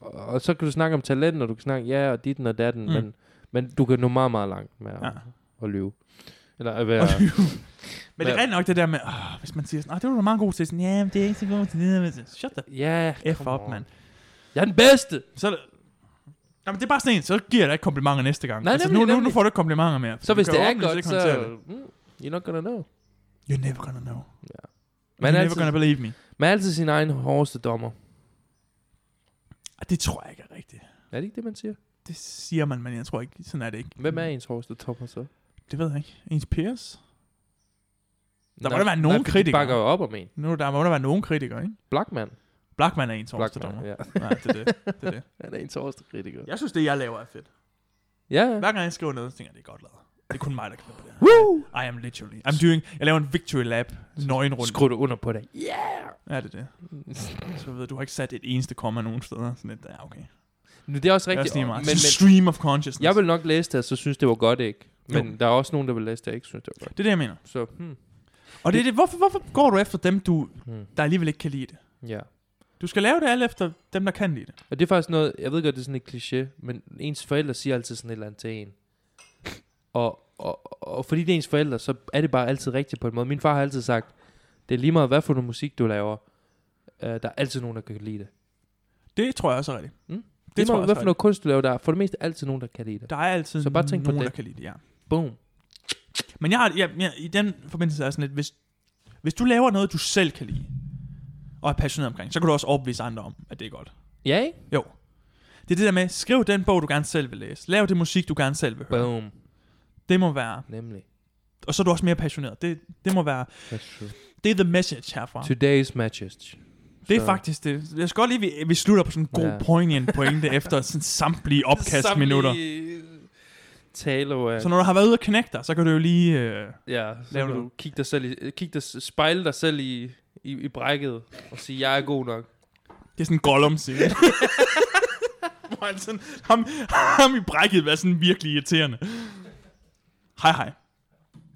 A: Og, og så kan du snakke om talent, og du kan snakke ja og ditten og datten,
B: Mm.
A: mm. men, men du kan nå meget, meget langt med at,
B: Ja.
A: ja. at lyve. Eller at være...
B: Og lyve. Men det er
A: Hvad-
B: rent nok det der med, åh, hvis man siger sådan, "Åh, det var du meget god til, sådan, ja, men det er ikke så god til det der. Så Shut the
A: Ja,
B: f
A: come
B: up,
A: on.
B: mand.
A: Jeg er den bedste!
B: Så er det, Jamen, det er bare sådan en, så giver jeg dig ikke komplimenter næste gang.
A: Nej,
B: altså,
A: nemlig,
B: nu, nu, nu
A: nemlig.
B: får du ikke komplimenter mere.
A: Så
B: fordi
A: hvis
B: du
A: det
B: kan
A: er
B: åbenlyst
A: godt,
B: ikke håndtere det.
A: så... Mm, you're not gonna know.
B: You're never gonna know.
A: Man
B: You're
A: er,
B: never
A: altid,
B: gonna believe me.
A: man er altid sin egen hårdeste dommer.
B: Og Ah, det tror jeg ikke er rigtigt.
A: Er det ikke det, man siger?
B: Det siger man, men jeg tror ikke, sådan er det ikke.
A: Hvem er ens hårdeste dommer så?
B: Det ved jeg ikke. Ens peers? Der må
A: Nej,
B: da være
A: nej,
B: nogen
A: for
B: kritikere.
A: De bakker jo op om en.
B: Nu er der må der være nogen kritikere, ikke?
A: Blackman.
B: Blackman er ens hårdeste dommer.
A: Blackman, ja.
B: Nej, det er det. det, er det.
A: Han er ens hårdeste kritiker.
B: Jeg synes, det jeg laver er fedt.
A: Ja, ja.
B: Hver gang jeg skriver noget, så tænker jeg, det er godt lavet. Det er kun mig, der kan lide på det her.
A: Woo!
B: I am literally. I'm doing... Jeg laver en victory lap. Nøgen rundt.
A: Skru det under på dig.
B: Ja, det er det. Så ved jeg, du har ikke sat et eneste komma nogen steder. Sådan lidt, ja, okay.
A: Nu, det er også
B: Rigtig,
A: rigtigt.
B: det er
A: og-
B: også men,
A: men, men,
B: Stream of consciousness.
A: jeg vil nok læse det, og så synes det var godt, ikke? Men
B: Jo.
A: der er også nogen, der vil læse det, og ikke synes det var godt.
B: Det er det, jeg mener.
A: Så, hmm.
B: Og det er det, hvorfor, hvorfor går du efter dem, du,
A: hmm.
B: der alligevel ikke kan lide det?
A: Ja.
B: Du skal lave det alt efter dem, der kan lide det.
A: Og det er faktisk noget, jeg ved godt, det er sådan et kliché, men ens forældre siger altid sådan et eller andet til en. Og, og, og fordi det er ens forældre, så er det bare altid rigtigt på en måde. Min far har altid sagt, Det er lige meget, hvad for noget musik du laver. Uh, der er altid nogen, der kan lide det.
B: Det tror jeg også er rigtigt.
A: Mm.
B: Det,
A: Det lige
B: tror jeg
A: meget, hvad
B: også
A: for
B: er
A: noget kunst du laver, der er for det meste altid nogen, der kan lide det.
B: rigtigt. Der er altid
A: Så bare tænk på
B: nogen,
A: det.
B: der kan lide det, ja.
A: Boom.
B: Men jeg har, jeg, jeg, i den forbindelse er jeg sådan lidt, hvis, hvis du laver noget, du selv kan lide, og er passioneret omkring, så kan du også overbevise andre om, at det er godt.
A: Ja, ikke?
B: Jo. Det er det der med, skriv den bog, du gerne selv vil læse. Lav det musik, du gerne selv vil høre.
A: Boom.
B: Det må være.
A: Nemlig.
B: Og så er du også mere passioneret. Det, det må være.
A: That's true.
B: Det er the message herfra.
A: Today's matches.
B: Det er
A: Så-
B: faktisk det. Jeg skal godt lige, vi, vi slutter på sådan en god
A: Ja.
B: ja. poignant pointe efter sådan samtlige opkastminutter.
A: Taler af...
B: Så når du har været ude og knække dig, så kan du jo lige... Øh,
A: øh, Ja, så
B: Lav
A: kan du
B: noget.
A: kigge dig selv i, kigge dig, spejle dig selv i, i, i brækket og sige, jeg er god nok.
B: det er sådan en gollum scene Hvor han sådan, ham, ham i brækket var sådan virkelig irriterende. Hej hej.